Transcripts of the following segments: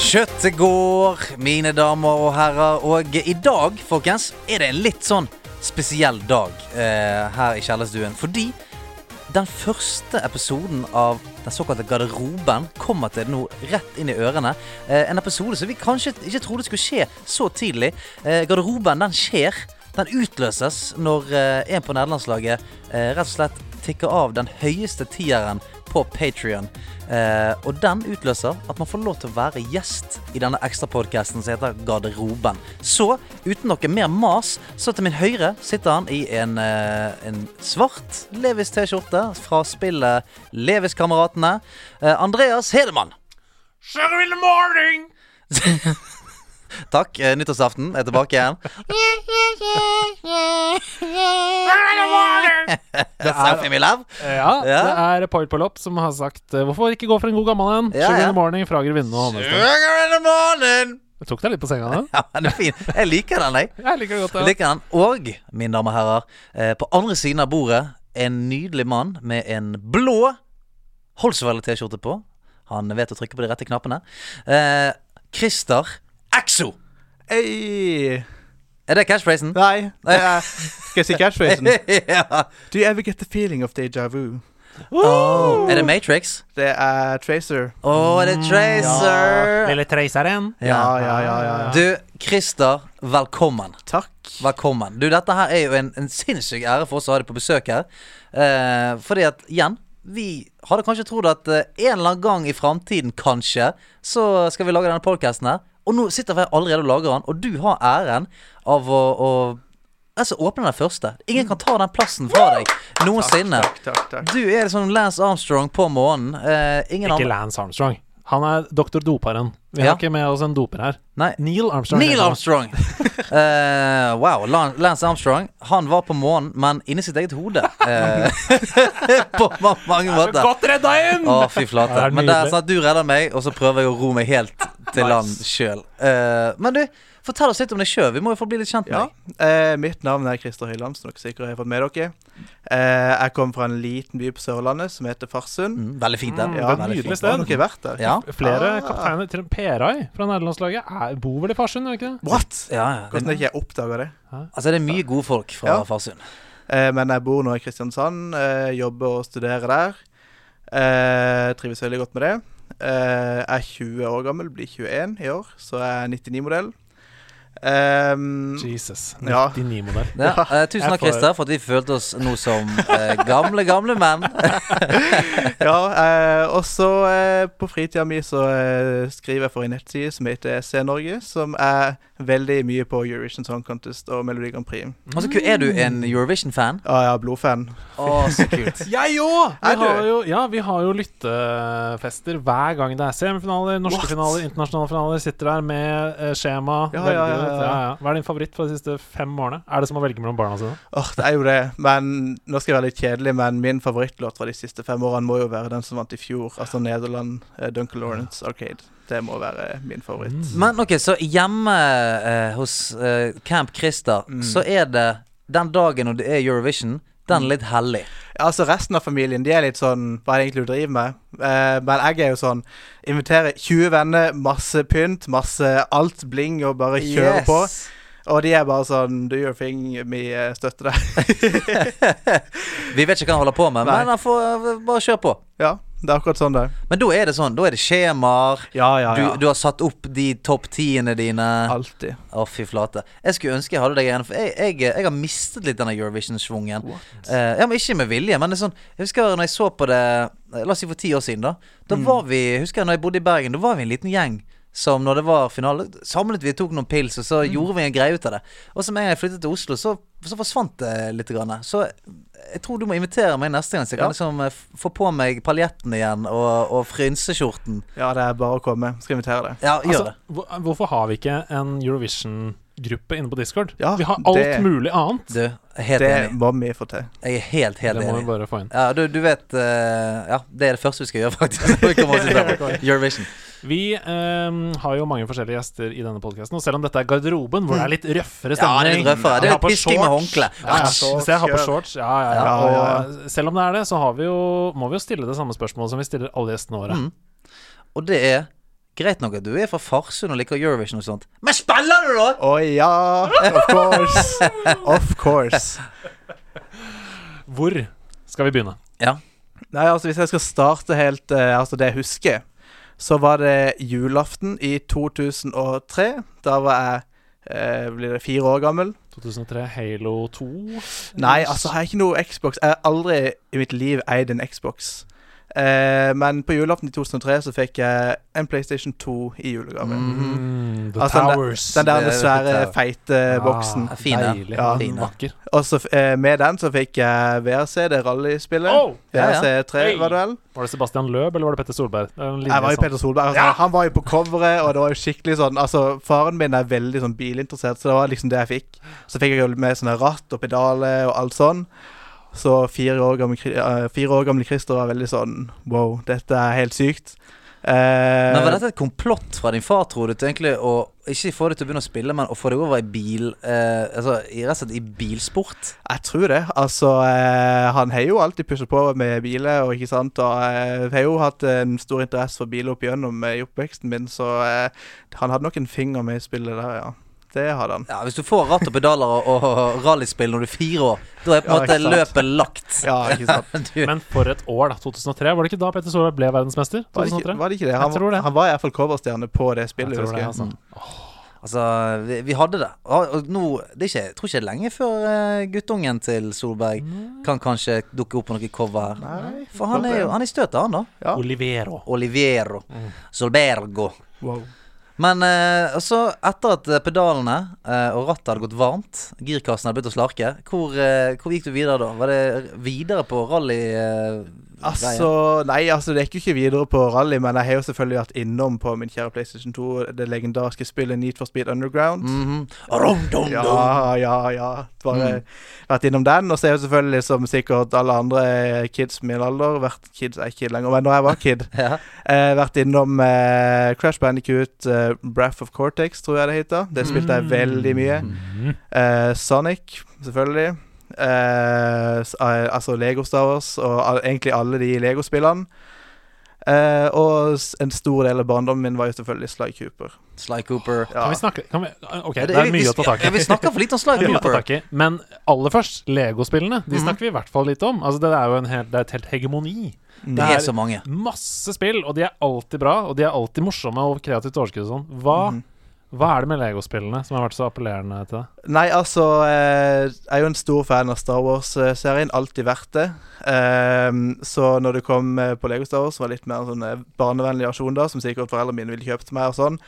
Kjøttet går, mine damer og herrer. Og i dag, folkens, er det en litt sånn spesiell dag eh, her i Kjellerstuen. Fordi den første episoden av den såkalte Garderoben kommer til nå rett inn i ørene. Eh, en episode som vi kanskje ikke trodde skulle skje så tidlig. Eh, garderoben, den skjer. Den utløses når eh, en på nederlandslaget eh, rett og slett tikker av den høyeste tieren på Patrion. Eh, og den utløser at man får lov til å være gjest i denne ekstrapodkasten som heter Garderoben. Så uten noe mer mas, så til min høyre sitter han i en, eh, en svart Levis-T-skjorte fra spillet Levis-kameratene. Eh, Andreas Hedemann. Sir, in the morning! Takk. Eh, nyttårsaften er tilbake igjen. Sir, in the morning! Selfie, me love. Ja, Ja. det er Paul Palop som har sagt eh, Hvorfor ikke gå for en god gammel en? Ja, Sugar ja. in the morning fra Grevinnen og Hammerstein. Sugar in the morning. Jeg tok deg litt på senga da. Ja, den er fin. Jeg liker den, jeg. Jeg liker det godt. Jeg Ja. liker den. Og, mine damer og herrer, eh, på andre siden av bordet en nydelig mann med en blå Holswell-T-skjorte på. Han vet å trykke på de rette knappene. Eh, Christer Exo. Hey. Er det catchphrasen? Nei, det er Skal jeg si catchphrasen? ja. sånn? Do you ever get the feeling of deja vu? Åh, Er det Matrix? Det er Tracer. Å, er det Tracer? Lille treiseren. Ja, ja, ja. ja, ja. Du, Christer, velkommen. Takk. Velkommen. Du, dette her er jo en, en sinnssyk ære for oss å ha deg på besøk her. Eh, fordi at, igjen, vi hadde kanskje trodd at eh, en eller annen gang i framtiden, kanskje, så skal vi lage denne podkasten her. Og nå sitter vi allerede og lager den, og du har æren av å, å Altså, åpne den første. Ingen kan ta den plassen fra deg noensinne. Takk, takk, takk. Du er sånn Lance Armstrong på månen. Eh, ingen Ikke andre Lance Armstrong. Han er doktor doperen. Vi Ja. har ikke med oss en doper her. Nei. Neil Armstrong. Neil heter han. Armstrong! Eh, wow. Lan- Lance Armstrong Han var på månen, men inni sitt eget hode. eh, på ma- mange måter. Godt redda inn! Å, fy flate. Ja, det er men det er nydelig. sånn at du redder meg, og så prøver jeg å ro meg helt til land sjøl. men du, fortell oss litt om deg sjøl. Vi må jo få bli litt kjent med Ja, deg. eh, Mitt navn er Christer Høyland, som dere sikkert har fått med dere. Eh, jeg kommer fra en liten by på Sørlandet som heter Farsund. Mm, veldig fint, det. Mm, Ja, det er et veldig nydelig fint. Har sted. dere vært der? Ja. Flere Ah. kapteiner til Perai fra nederlandslaget er- bor vel i Farsund, gjør de ikke det? What? Ja, ja. Hvordan ikke jeg oppdaga det? Altså, det er mye gode folk fra Ja. Farsund. Eh, men jeg bor nå i Kristiansand, eh, jobber og studerer der. Eh, trives veldig godt med det. Eh, jeg er 20 år gammel, blir 21 i år, så jeg er 99-modell. Eh, Jesus. Ja. 99-modell. Ja. eh, tusen jeg takk, får- Christer, for at vi følte oss nå som eh, gamle, gamle menn. ja, eh, og så eh, på fritida mi så eh, skriver jeg for en nettside som heter Se Norge, som er veldig mye på Eurovision Song Contest og Melodi Grand Prix. Altså, ku- er du en Eurovision-fan? Ja, jeg er blodfan. Å, så kult. Jeg òg! Vi Er du? har jo, ja, vi har jo lyttefester hver gang det er semifinaler, norske What? finaler, internasjonale finaler. Sitter der med eh, skjema. Ja, velger ja, ja, ut. ja. Hva er din favoritt for de siste fem årene? Er det som å velge mellom barna sine? Åh, det er jo det. Men nå skal jeg være litt kjedelig, men min favorittlåt fra de siste fem årene må jo være den som vant i fjor. Altså Nederland, eh, Duncan Lawrence Arcade. Det må være min favoritt. Mm. Men ok, så hjemme eh, hos eh, Camp Christer, Mm. så er det den dagen når det er Eurovision, Mm. den er litt hellig. Ja, Altså Resten av familien de er litt sånn Hva er det egentlig du driver med? Eh, men jeg er jo sånn Inviterer 20 venner, masse pynt, masse alt bling, og bare kjører på. Og de er bare sånn Do your thing, vi eh, støtter deg. Vi vet ikke hva han holder på med, Nei. men han får eh, bare kjøre på. ja, det er akkurat sånn det er. Men da er det sånn, da er det skjemaer. Ja, ja, Du, du har satt opp de topp tiene dine. Å, Alltid. fy flate. Jeg skulle ønske jeg hadde deg igjen, for jeg, jeg, jeg har mistet litt denne Eurovision-schwungen. Eh, ja, men Ikke med vilje, men det er sånn jeg husker når jeg så på det eh, La oss si for ti år siden, da. Da var vi husker jeg når jeg bodde i Bergen, da var vi en liten gjeng som når det var finale, samlet vi tok noen pils, og så gjorde vi en greie ut av det. Og så med en gang jeg flyttet til Oslo, så, så forsvant det litt. Grann. Så jeg tror du må invitere meg neste gang, så jeg Ja. kan liksom eh, f- få på meg paljetten igjen og, og frynseskjorten. Ja, det er bare å komme. Skal invitere deg. Ja, gjør Altså, hvor- hvorfor har vi ikke en Eurovision-gruppe inne på Discord? Ja, vi har alt det- mulig annet. det. Du, jeg er helt Det enig. må vi få til. Jeg er helt, helt Det må vi enig. bare få inn. Ja, du, du vet eh, Ja, det er det første vi skal gjøre, faktisk. Når vi kommer oss i stand. Eurovision. Vi ehm, har jo mange forskjellige gjester i denne podkasten, og selv om dette er garderoben, hvor det Mm. er litt røffere Ja, det er stemning litt røffere. Det Jeg er har litt på pisking med shorts. håndkle. Ja, ja. Shorts, Hvis jeg har på kjør. shorts ja, ja, ja. Ah, Ja, ja, Og selv om det Mm. er det, så har vi jo, må vi jo stille det samme spørsmålet som vi stiller alle gjestene våre. Mm. Og det er Greit nok at du er fra Farsund og liker Eurovision og sånt, men spiller du, da?! Å ja, of course. Of course. Hvor skal vi begynne? Ja. Nei, altså Hvis jeg skal starte helt eh, altså det jeg husker, så var det julaften i 2003. Da var jeg eh, blir det fire år gammel. 2003, Halo 2? Nei, altså, jeg har ikke noe Xbox. Jeg har aldri i mitt liv eid en Xbox. Eh, men på julaften i 2003 så fikk jeg en PlayStation 2 i julegave. Mm, the Altså, den der- Towers. Den der Mhm. Det er svære, litt- feite boksen. Ah, fin, den. Deilig. Ja, fin, den. Vakker. Og så f- eh, med den så fikk jeg VRC, det rallyspillet. Oh! ja, ja. VRC3, Hey! var det vel? Var det Sebastian Løb, eller var det Petter Solberg? Det er en linje Jeg var jo sånn. Peter Solberg. Altså, Han var jo på coveret, og det var jo skikkelig sånn Altså, faren min er veldig sånn bilinteressert, så det var liksom det jeg fikk. Så fikk jeg jo med sånne ratt og pedaler og alt sånn. Så fire år gamle, Kri- eh, fire år gamle Christer var veldig sånn Wow, dette er helt sykt. Eh, Men var dette et komplott fra din far, tror du, til egentlig å ikke få deg til å begynne å spille, men å få deg over i bil eh, Altså i rett og slett i bilsport? Jeg tror det. Altså, eh, han har jo alltid pusha på med biler, og ikke sant. Og eh, jeg har jo hatt en stor interesse for biler opp gjennom eh, i oppveksten min, så eh, han hadde nok en finger med i spillet der, ja. Det hadde han. Ja, Hvis du får ratt og pedaler og, og rallyspill når du er fire år, da er på en Ja, måte ikke sant. løpet lagt. Ja, ikke sant. Du, Men for et år, da. 2003. Var det ikke da Petter Solberg ble verdensmester? Var det, ikke, 2003? var det ikke det? Jeg Han, tror det. han var i hvert fall coverstjerne på det Jeg spillet. tror husker det, jeg. altså. altså, vi, vi hadde det. Og og nå, det er ikke, Jeg tror ikke det er lenge før eh, guttungen til Solberg kan kanskje dukke opp på noe cover her. Nei, For han er jo han er i støtet, han, da. Ja. Olivero. Olivero. Eh. Solbergo. Wow. Men eh, så, etter at eh, pedalene eh, og rattet hadde gått varmt, girkassen hadde begynt å slarke, hvor, eh, hvor gikk du videre da? Var det videre på rally? eh, Altså, veien? nei, altså, det gikk jo ikke videre på rally, men jeg har jo selvfølgelig vært innom på min kjære PlayStation 2 det legendariske spillet Need for Speed Underground. Mm. Mhm. Rom, dom, dom. Ja, ja, ja. Bare Mm. vært innom den. Og så er jo selvfølgelig, som sikkert alle andre kids min alder, vært kids er ikke kid lenger, men når jeg var kid, Ja. eh, vært innom eh, Crash Bandicoot, eh, Breath of Cortex, tror jeg det heter. Det spilte jeg veldig mye. Mm. Eh, Sonic, selvfølgelig. Eh, s- eh, altså Lego Star Wars og al egentlig alle de Lego-spillene. Eh, og s- en stor del av barndommen min var jo selvfølgelig Sly Cooper. Sly Cooper. Ja. Kan vi snakke kan vi, ah, Ok, Ja, det er vi- vi- mye å ta tak i. Ja, vi snakker for litt om Sly Det er mye å ta Cooper. tak i. Men aller først, Lego-spillene. Mm. De snakker vi i hvert fall litt om. Altså, det er jo en helt, det er et helt hegemoni. Mm. Det er så mange. Masse spill, og de er alltid bra, og de er alltid morsomme og kreativt overskudd og sånn. Hva, Mm. Mhm. hva er det med Lego-spillene som har vært så appellerende til deg? Nei, altså eh, Jeg er jo en stor fan av Star Wars-serien. Alltid vært det. Eh, så når det kom eh, på Lego Star Wars, som var litt mer en sånn eh, barnevennlig versjon, da, som sikkert foreldrene mine ville kjøpt til meg og sånn,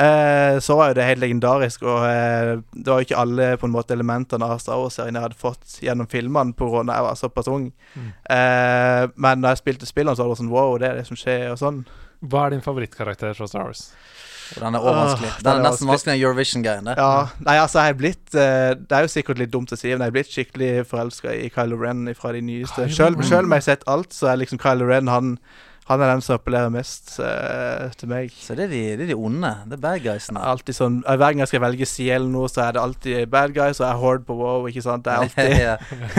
eh, så var jo det helt legendarisk. Og eh, det var jo ikke alle på en måte elementene av Star Wars-serien jeg hadde fått gjennom filmene pga. jeg var såpass ung. Eh, men da jeg spilte spillene, så var det sånn Wow, det er det som skjer, og sånn. Hva er din favorittkarakter fra Star Wars? Den er også vanskelig. Åh, Den den er er nesten vanskelig. vanskeligere enn Eurovision-greien. det. Ja, nei, altså, jeg er blitt eh, Det er jo sikkert litt dumt å si, men jeg er blitt skikkelig forelska i Kylo Ren fra de nyeste. Kylo Selv, Ren. selv om jeg har sett alt, så er liksom Kylo Ren han, han er den som appellerer mest eh, til meg. Så det er, de, det er de onde. Det er bad guysene. Alltid sånn eh, Hver gang jeg skal velge side eller noe, så er det alltid bad guys, og jeg er horde på wow, ikke sant. Det er alltid Ja.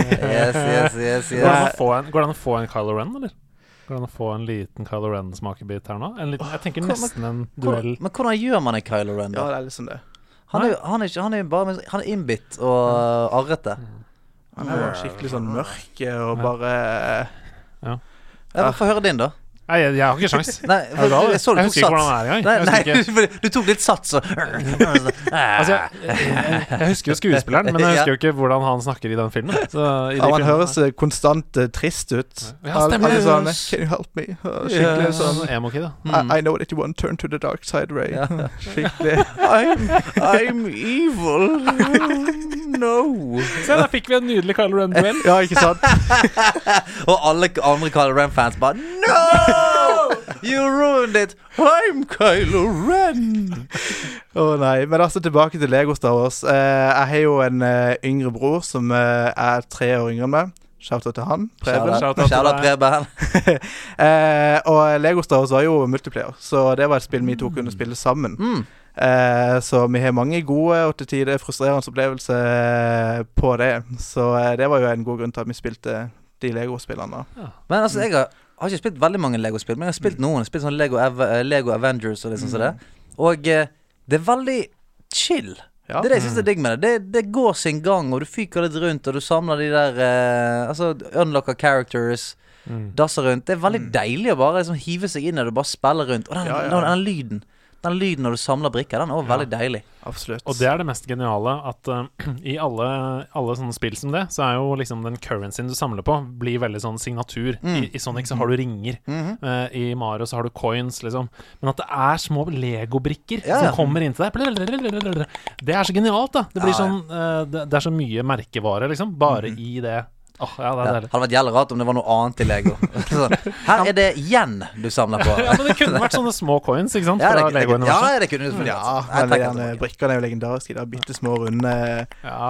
yes, yes, yes, Går det, yes. an å få en, går det an å få en Kylo Ren, eller? Går det an å få en liten Kylo Ren-smakebit her nå? En liten, jeg tenker Hvor- nesten en duell. Hvordan, men hvordan gjør man en Kylo Ren, Ja, da? det er liksom det. Han er jo han er, ikke- han er jo bare Han er innbitt og arrete. Han er jo skikkelig sånn mørk eh, og bare eh, Ja, men Få høre din, da. Nei, jeg, jeg har ikke sjans. Nei, Er du gal, for, jeg så du eller? Jeg tok husker ikke hvordan han sats. er engang. Nei, Jeg nei, husker ikke- for du tok litt sats, Mm. og Altså, jeg, jeg, jeg husker jo skuespilleren, men jeg husker jo ikke hvordan han snakker i den filmen. Så, i de ja, Han filmene- høres eh, konstant eh, trist ut. Ja, Al- stemmer. Alltid sånn eh, Can you help me? Og Skikkelig sånn Sånn emo-kid, da. I, I know that you want to turn to the dark side, Ray. Ja. Skikkelig. I'm, I'm evil. No. Se, der fikk vi en nydelig Kylo Ren-duell. Ja, ikke sant? Og alle k- andre Kylo Ren-fans bare No! You ruined it! I'm Kylo Ren! Å nei. Men altså, tilbake til Lego Star Wars. Eh, jeg har jo en eh, yngre bror som eh, er tre år yngre enn meg. Shout out til han. Preben. Shout out til Shout out deg. Preben. Eh, og Lego Star Wars var jo multiplayer, så det var et spill vi to kunne spille sammen. Mm. Eh, så vi har mange gode og til tider frustrerende opplevelser eh, på det. Så eh, det var jo en god grunn til at vi spilte de Lego-spillene. da. Men altså, jeg har har ikke spilt veldig mange Lego-spill, men jeg har Mm. spilt noen. Jeg har spilt sånn Lego, Ava- eh, Lego Avengers og liksom sånn Mm. det. Og eh, det er veldig chill. Ja. Det er det jeg syns er digg med det. det. Det går sin gang, og du fyker litt rundt, og du samler de der eh, Altså, unlocker characters, Mm. dasser rundt. Det er veldig deilig å bare liksom hive seg inn og du bare spiller rundt. Og den, Ja, ja. den, den lyden. Den lyden når du samler brikker, den er også veldig deilig. Absolutt. Og det er det mest geniale, at eh, i alle, alle sånne spill som det, så er jo liksom den currencyen du samler på, blir veldig sånn signatur. I, Mm. I Sonic så har du ringer. Mhm. eh, I Mario så har du coins, liksom. Men at det er små legobrikker Ja, ja. som kommer inntil deg. Det er så genialt, da. Det blir sånn eh, det, det er så mye merkevare, liksom. Bare i det. Åh, ja, det er Mhm. Ja. deilig. Hadde vært jævlig rart om det var noe annet i Lego. sånn. Her er det igjen du samler på. Ja, men det kunne vært sånne små coins, ikke sant? Ja, Fra det, det, det, Lego-universet. ja, det kunne du selvfølgelig. Ja, vært. Jeg men trekker gjerne tilbake. brikkene er jo legendariske. De bitte små, runde Ja.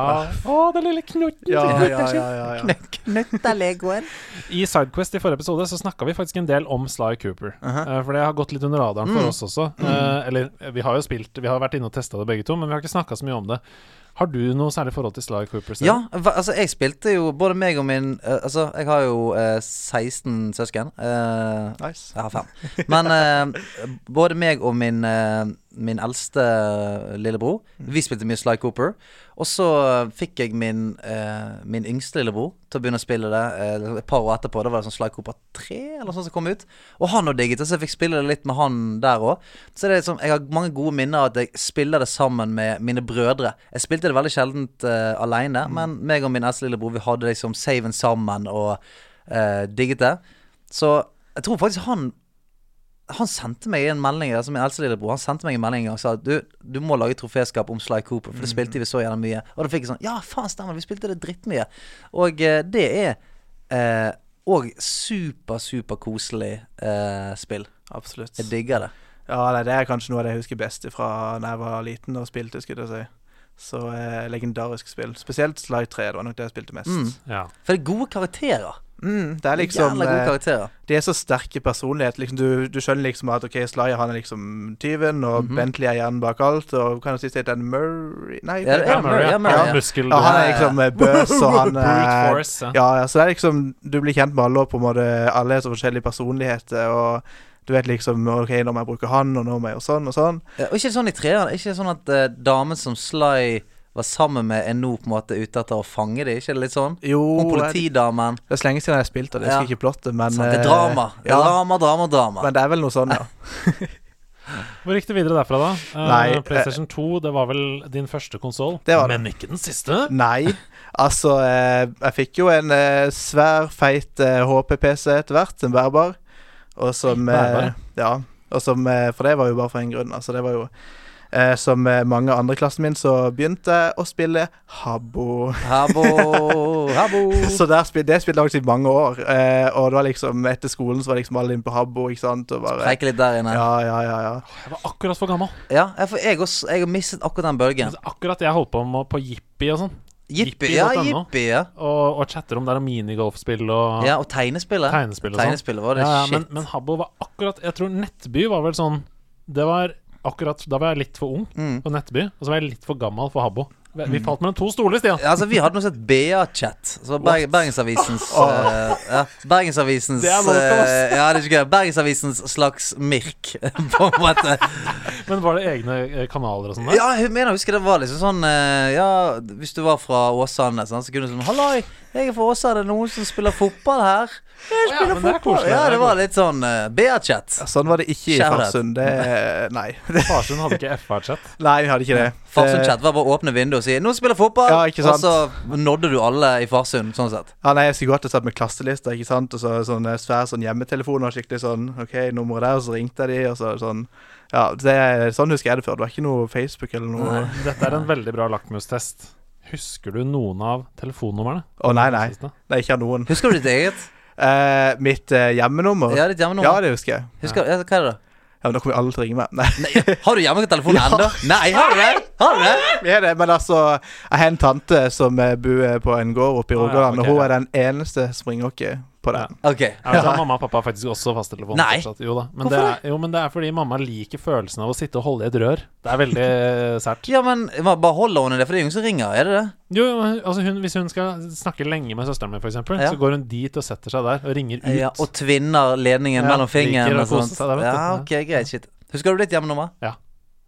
Å, den lille knotten. Ja, ja, ja. ja, ja. Legoen. I Sidequest i forrige episode så snakka vi faktisk en del om Sly Cooper. Uh-huh. Eh, For det har gått litt under radaren Mm. for oss også. Eh, Eller eh, vi har jo spilt Vi har vært inne og testa det begge to, men vi har ikke snakka så mye om det. Har du noe særlig forhold til Sly Cooper? selv? Ja, hva- altså jeg spilte jo både meg og min eh, Altså, jeg har jo eh, 16 søsken. eh, Nice. jeg har fem. Men eh, både meg og min, eh, min eldste eh, lillebror, vi spilte mye Sly Cooper. Og så fikk jeg min, eh, min yngste lillebror til å begynne å spille det eh, et par år etterpå. Da var det sånn Sly Cooper 3 eller noe sånt som kom ut. Og han òg digget det, så jeg fikk spille det litt med han der òg. Så det er liksom, jeg har mange gode minner av at jeg spiller det sammen med mine brødre. Jeg spilte det veldig sjeldent eh, aleine, men meg og min eldste lillebror vi hadde liksom saven sammen og eh, digget det. Så jeg tror faktisk han han sendte meg en melding altså min eldste lillebror Han sendte meg en melding en gang og sa at du, du må lage et troféskap om Sly Cooper, for det Mm. spilte vi så gjerne mye. Og da fikk jeg sånn Ja, faen, stemmer, vi spilte det drittmye. Og eh, det er eh, og super, super koselig eh, spill. Absolutt. Jeg digger det. Ja, nei, det er kanskje noe av det jeg husker best fra da jeg var liten og spilte, skulle jeg si. Så eh, legendarisk spill. Spesielt Slide 3. Det var nok det jeg spilte mest. Mm. Mm. Ja. For det er gode karakterer. det er liksom Jævla gode eh, karakterer. De er så sterke personligheter. Liksom, du, du skjønner liksom at OK, Sly han er liksom tyven, og Mhm. Bentley er hjernen bak alt, og kan du si det er Dan Murray Nei, Ja, det er Ja, Murray, ja, Murray, ja, ja. muskel Ja, han Ja, er ja, liksom eh, bøs, og han Brute er force. Ja. ja, ja, så det er liksom Du blir kjent med alle, og på en måte alle er så forskjellige personligheter, og du vet liksom OK, nå må jeg bruke han, og nå må jeg gjøre sånn, og sånn. Eh, Og ikke sånn i treeren. Ikke sånn at eh, damen som Sly var sammen med, er nå på en måte ute etter å fange dem. Ikke det litt sånn? Jo, Hun jeg- politidamen. Det er så lenge siden jeg har spilt, og det husker Ja. ikke plottet, men Sånn, det eh, er drama. Det er Ja, Drama, drama, drama. men det er vel noe sånn, ja. Hvor gikk det videre derfra, da? Eh, Nei, eh, PlayStation 2 det var vel din første konsoll, Det var det. men ikke den siste? Nei. Altså, eh, jeg fikk jo en eh, svær, feit eh, HP-PC etter hvert, en bærbar, og som eh, Bærbar? Ja. Og som, eh, for det var jo bare for en grunn. Altså, det var jo eh, Som eh, mange andre i klassen min, så begynte jeg å spille Habbo. Habo, habo. Så der spil, det spilte jeg faktisk i mange år. Eh, og det var liksom etter skolen så var liksom alle inne på Habbo, ikke sant. Og bare, Preike litt der inne. Ja, eh, ja, ja, ja, ja. Jeg var akkurat for gammel. Altså, jeg- for jeg, også, jeg har mistet akkurat den bølgen. Akkurat jeg holdt på med på Jippi og sånn, Jippi, Jippi ja, punktum no. jippi, ja. og, og chatterom der og minigolfspill og ja. Og tegnespillet. Tegnespill og sånn. Tegnespillet var det ja, ja, shit. men, men Habbo var akkurat Jeg tror Nettby var vel sånn Det var akkurat Da var jeg litt for ung Mm. på Nettby, og så var jeg litt for gammel for Habbo. Vi, Mm. vi falt mellom to stoler, Stian. Ja, altså, vi hadde noe som het BA-chat. Så Berg Bergensavisens eh, ja, Bergensavisens Det er voldsomt, ass. eh, Ja, det er ikke gøy. Bergensavisens slags Mirk, på en måte. Men var det egne eh, kanaler og sånn der? Ja, jeg mener jeg husker det var liksom sånn eh, Ja, hvis du var fra Åsane, sånn, så kunne du sånn Halloi, jeg er fra Åsane, er det noen som spiller fotball her? Jeg ja, spiller men det er fotball. koselig, Ja, det er det var litt sånn uh, BA-chat. Sånn var det ikke i Shout out. Farsund. Det Nei. Farsund hadde ikke FR-chat. Nei, vi hadde ikke det. Farsund Det- chat var bare å åpne vinduet og si 'Nå spiller jeg fotball!' Ja, ikke sant? Og så nådde du alle i Farsund, sånn sett. Eh, Ja, nei, jeg skulle godt ha satt med klasselister, ikke sant, og så sånn eh, svær sånn hjemmetelefon og skikkelig sånn OK, nummeret der, og så ringte jeg de, og så sånn Ja, det, sånn husker jeg det før. Det var ikke noe Facebook eller noe Å, Dette er en veldig bra lakmustest. Husker du noen av telefonnumrene? nei, nei. Siste? Nei, ikke av noen. Husker du ditt eget? Eh, mitt eh, hjemmenummer? Ja, ditt Ja, hjemmenummer. det husker jeg. Husker, ja, hva er det? da? Ja, men Da kommer jo alle til å ringe meg. Nei, Nei, har du hjemmetelefonen Ja. ennå? Nei, har du det? Har du det? vi er det, men altså Jeg har en tante som eh, bor på en gård oppe i Å, ja, Rogaland, ok, og hun ja. er den eneste som ringer oss på den. OK. Ja, men så har mamma og pappa faktisk også fasttelefon. Nei. fortsatt. Jo da. Men det, er, jo, men det er fordi mamma liker følelsen av å sitte og holde i et rør. Det er veldig eh, sært. Ja, men hva- bare holder hun i det, for det er jo ingen som ringer, er det det? Jo, jo, altså hun, Hvis hun skal snakke lenge med søsteren min, f.eks., eksempel Ja. så går hun dit og setter seg der og ringer ut. Ja, og tvinner ledningen Ja, mellom fingeren liker å og sånt. kose seg der, vet du. Ja, ok, greit, shit. Husker du ditt hjemmenummer?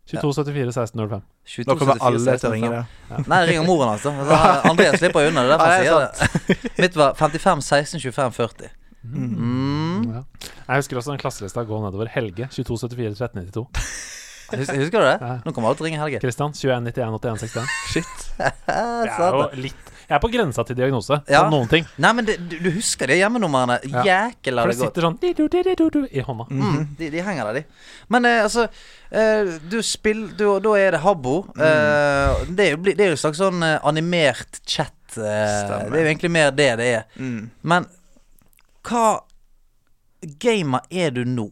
2274-1605. Nå 22, kommer 74, alle til å ringe 65. det. Nei, det ringer moren hans, da. Altså, Andreas slipper jo unna. Det er derfor Ja, det er jeg sier det. Mitt var 55 16 25 40. Mm. Ja. Jeg husker også den klasselista gå nedover. Helge 2274-1392. Hus- Husker du det? Ja. Nå kommer alle til å ringe Helge. Kristian 2191-8161. Shit. Eh, Det er jo satan. litt Jeg er på grensa til diagnose på Ja. noen ting. Nei, men det, du, du husker de hjemmenumrene? Ja. Jækla For det det godt. sitter sånn di-du-di-di-du-du i hånda. Mhm. Mm, de, de henger der, de. Men eh, altså eh, Du spill... Du, da er det Habbo. Mm. Eh, det, er jo, bli- det er jo en slags sånn eh, animert chat. eh, Stemmer. det er jo egentlig mer det det er. Mm. Men hva gamer er du nå?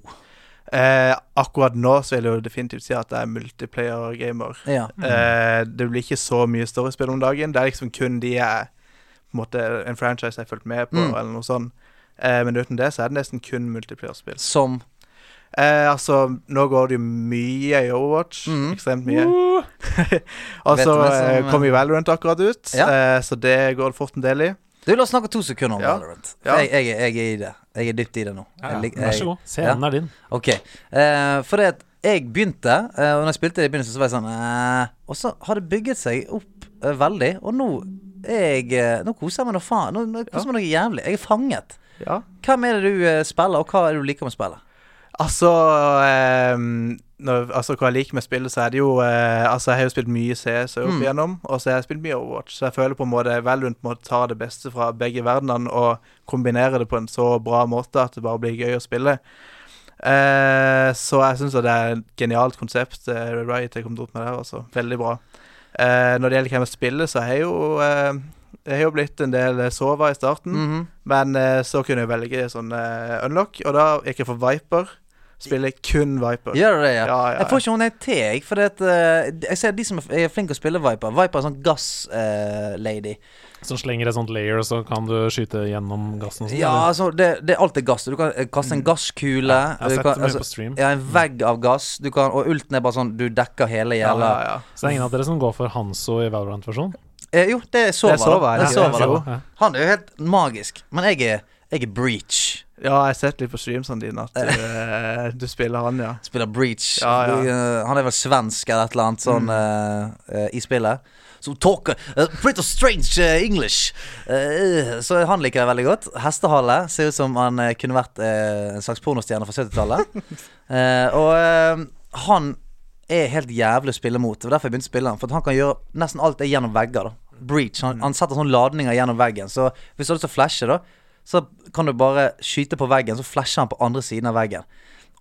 Eh, akkurat nå så vil jeg jo definitivt si at jeg er multiplayer-gamer. Ja. Eh, det blir ikke så mye storiespill om dagen. Det er liksom kun de jeg på en måte, En franchise jeg har fulgt med på, Mm. eller noe sånt. Eh, men uten det så er det nesten kun multiplayer-spill. Som Eh, altså, nå går det jo mye i Overwatch. Mhm. Ekstremt mye. Uh, Og Vet så du hva som, eh, kom jo Valorant akkurat ut, Ja. eh, så det går det fort en del i. Du, la oss snakke to sekunder om Ja. Valorant. Ja. For jeg, jeg, er- jeg er i det. Jeg er dypt i det nå. ja, Jeg lik- vær så jeg- god. Scenen er din. Ok. Eh, for det at jeg begynte, eh, og når jeg spilte det i begynnelsen, så var jeg sånn eh, Og så har det bygget seg opp eh, veldig, og nå er jeg eh, Nå koser jeg meg noe faen. Nå, nå koser jeg meg noe jævlig. Jeg er fanget. Ja. Hvem er det du eh, spiller, og hva er det du liker med spillet? Altså, ehm, når, altså Hva jeg liker med spillet, så er det jo eh, Altså, jeg har jo spilt mye CS opp Mm. igjennom, og så har jeg spilt mye Overwatch, så jeg føler på en måte Valorant må ta det beste fra begge verdenene og kombinere det på en så bra måte at det bare blir gøy å spille. Eh, så jeg syns det er et genialt konsept eh, Riot har kommet opp med der, altså. Veldig bra. Eh, når det gjelder hvem jeg spiller, så har jeg jo eh, Jeg har jo blitt en del eh, sova i starten. Mhm. Men eh, så kunne jeg velge sånn eh, unlock, og da gikk jeg for Viper. Spiller kun Viper. Gjør du det, ja? Ja, ja, Jeg får ikke hun jeg til, jeg. For det at, eh, jeg ser de som er f- er flinke til å spille Viper. Viper er sånn eh, gass-lady. Som slenger et sånt layer, og så kan du skyte gjennom gassen og sånn. Ja, eller? altså, det, det, alt er gass. Du kan eh, kaste en gasskule. Jeg har du sett kan, altså, det mye på stream. ja, en vegg av gass. Du kan, og ulten er bare sånn Du dekker hele ja, gjelda. ja, ja. Så det er ingen av dere som går for Hanso i Valorant-versjonen? eh, jo, det er Sova. Det er Sova, da. ja. Det er Sova, da. jo. Ja. Han er jo helt magisk. Men jeg er, jeg er Breach. ja, jeg har sett litt på streamsene dine at du, eh, du spiller han, ja. Spiller Breach. Ja, Mm. ja. Du, eh, han er vel svensk eller et eller annet sånn eh, eh, i spillet. Som talker uh, Pretty strange eh, English. Eh, så han liker jeg veldig godt. Hestehale ser ut som han eh, kunne vært eh, en slags pornostjerne fra 70-tallet. Eh, og eh, han er helt jævlig å spille mot. Det var derfor jeg begynte å spille han. For at han kan gjøre nesten alt det gjennom vegger. da Breach. Han, han setter sånne ladninger gjennom veggen. Så hvis du har lyst til å flashe, da, så kan du bare skyte på veggen, så flasher han på andre siden av veggen.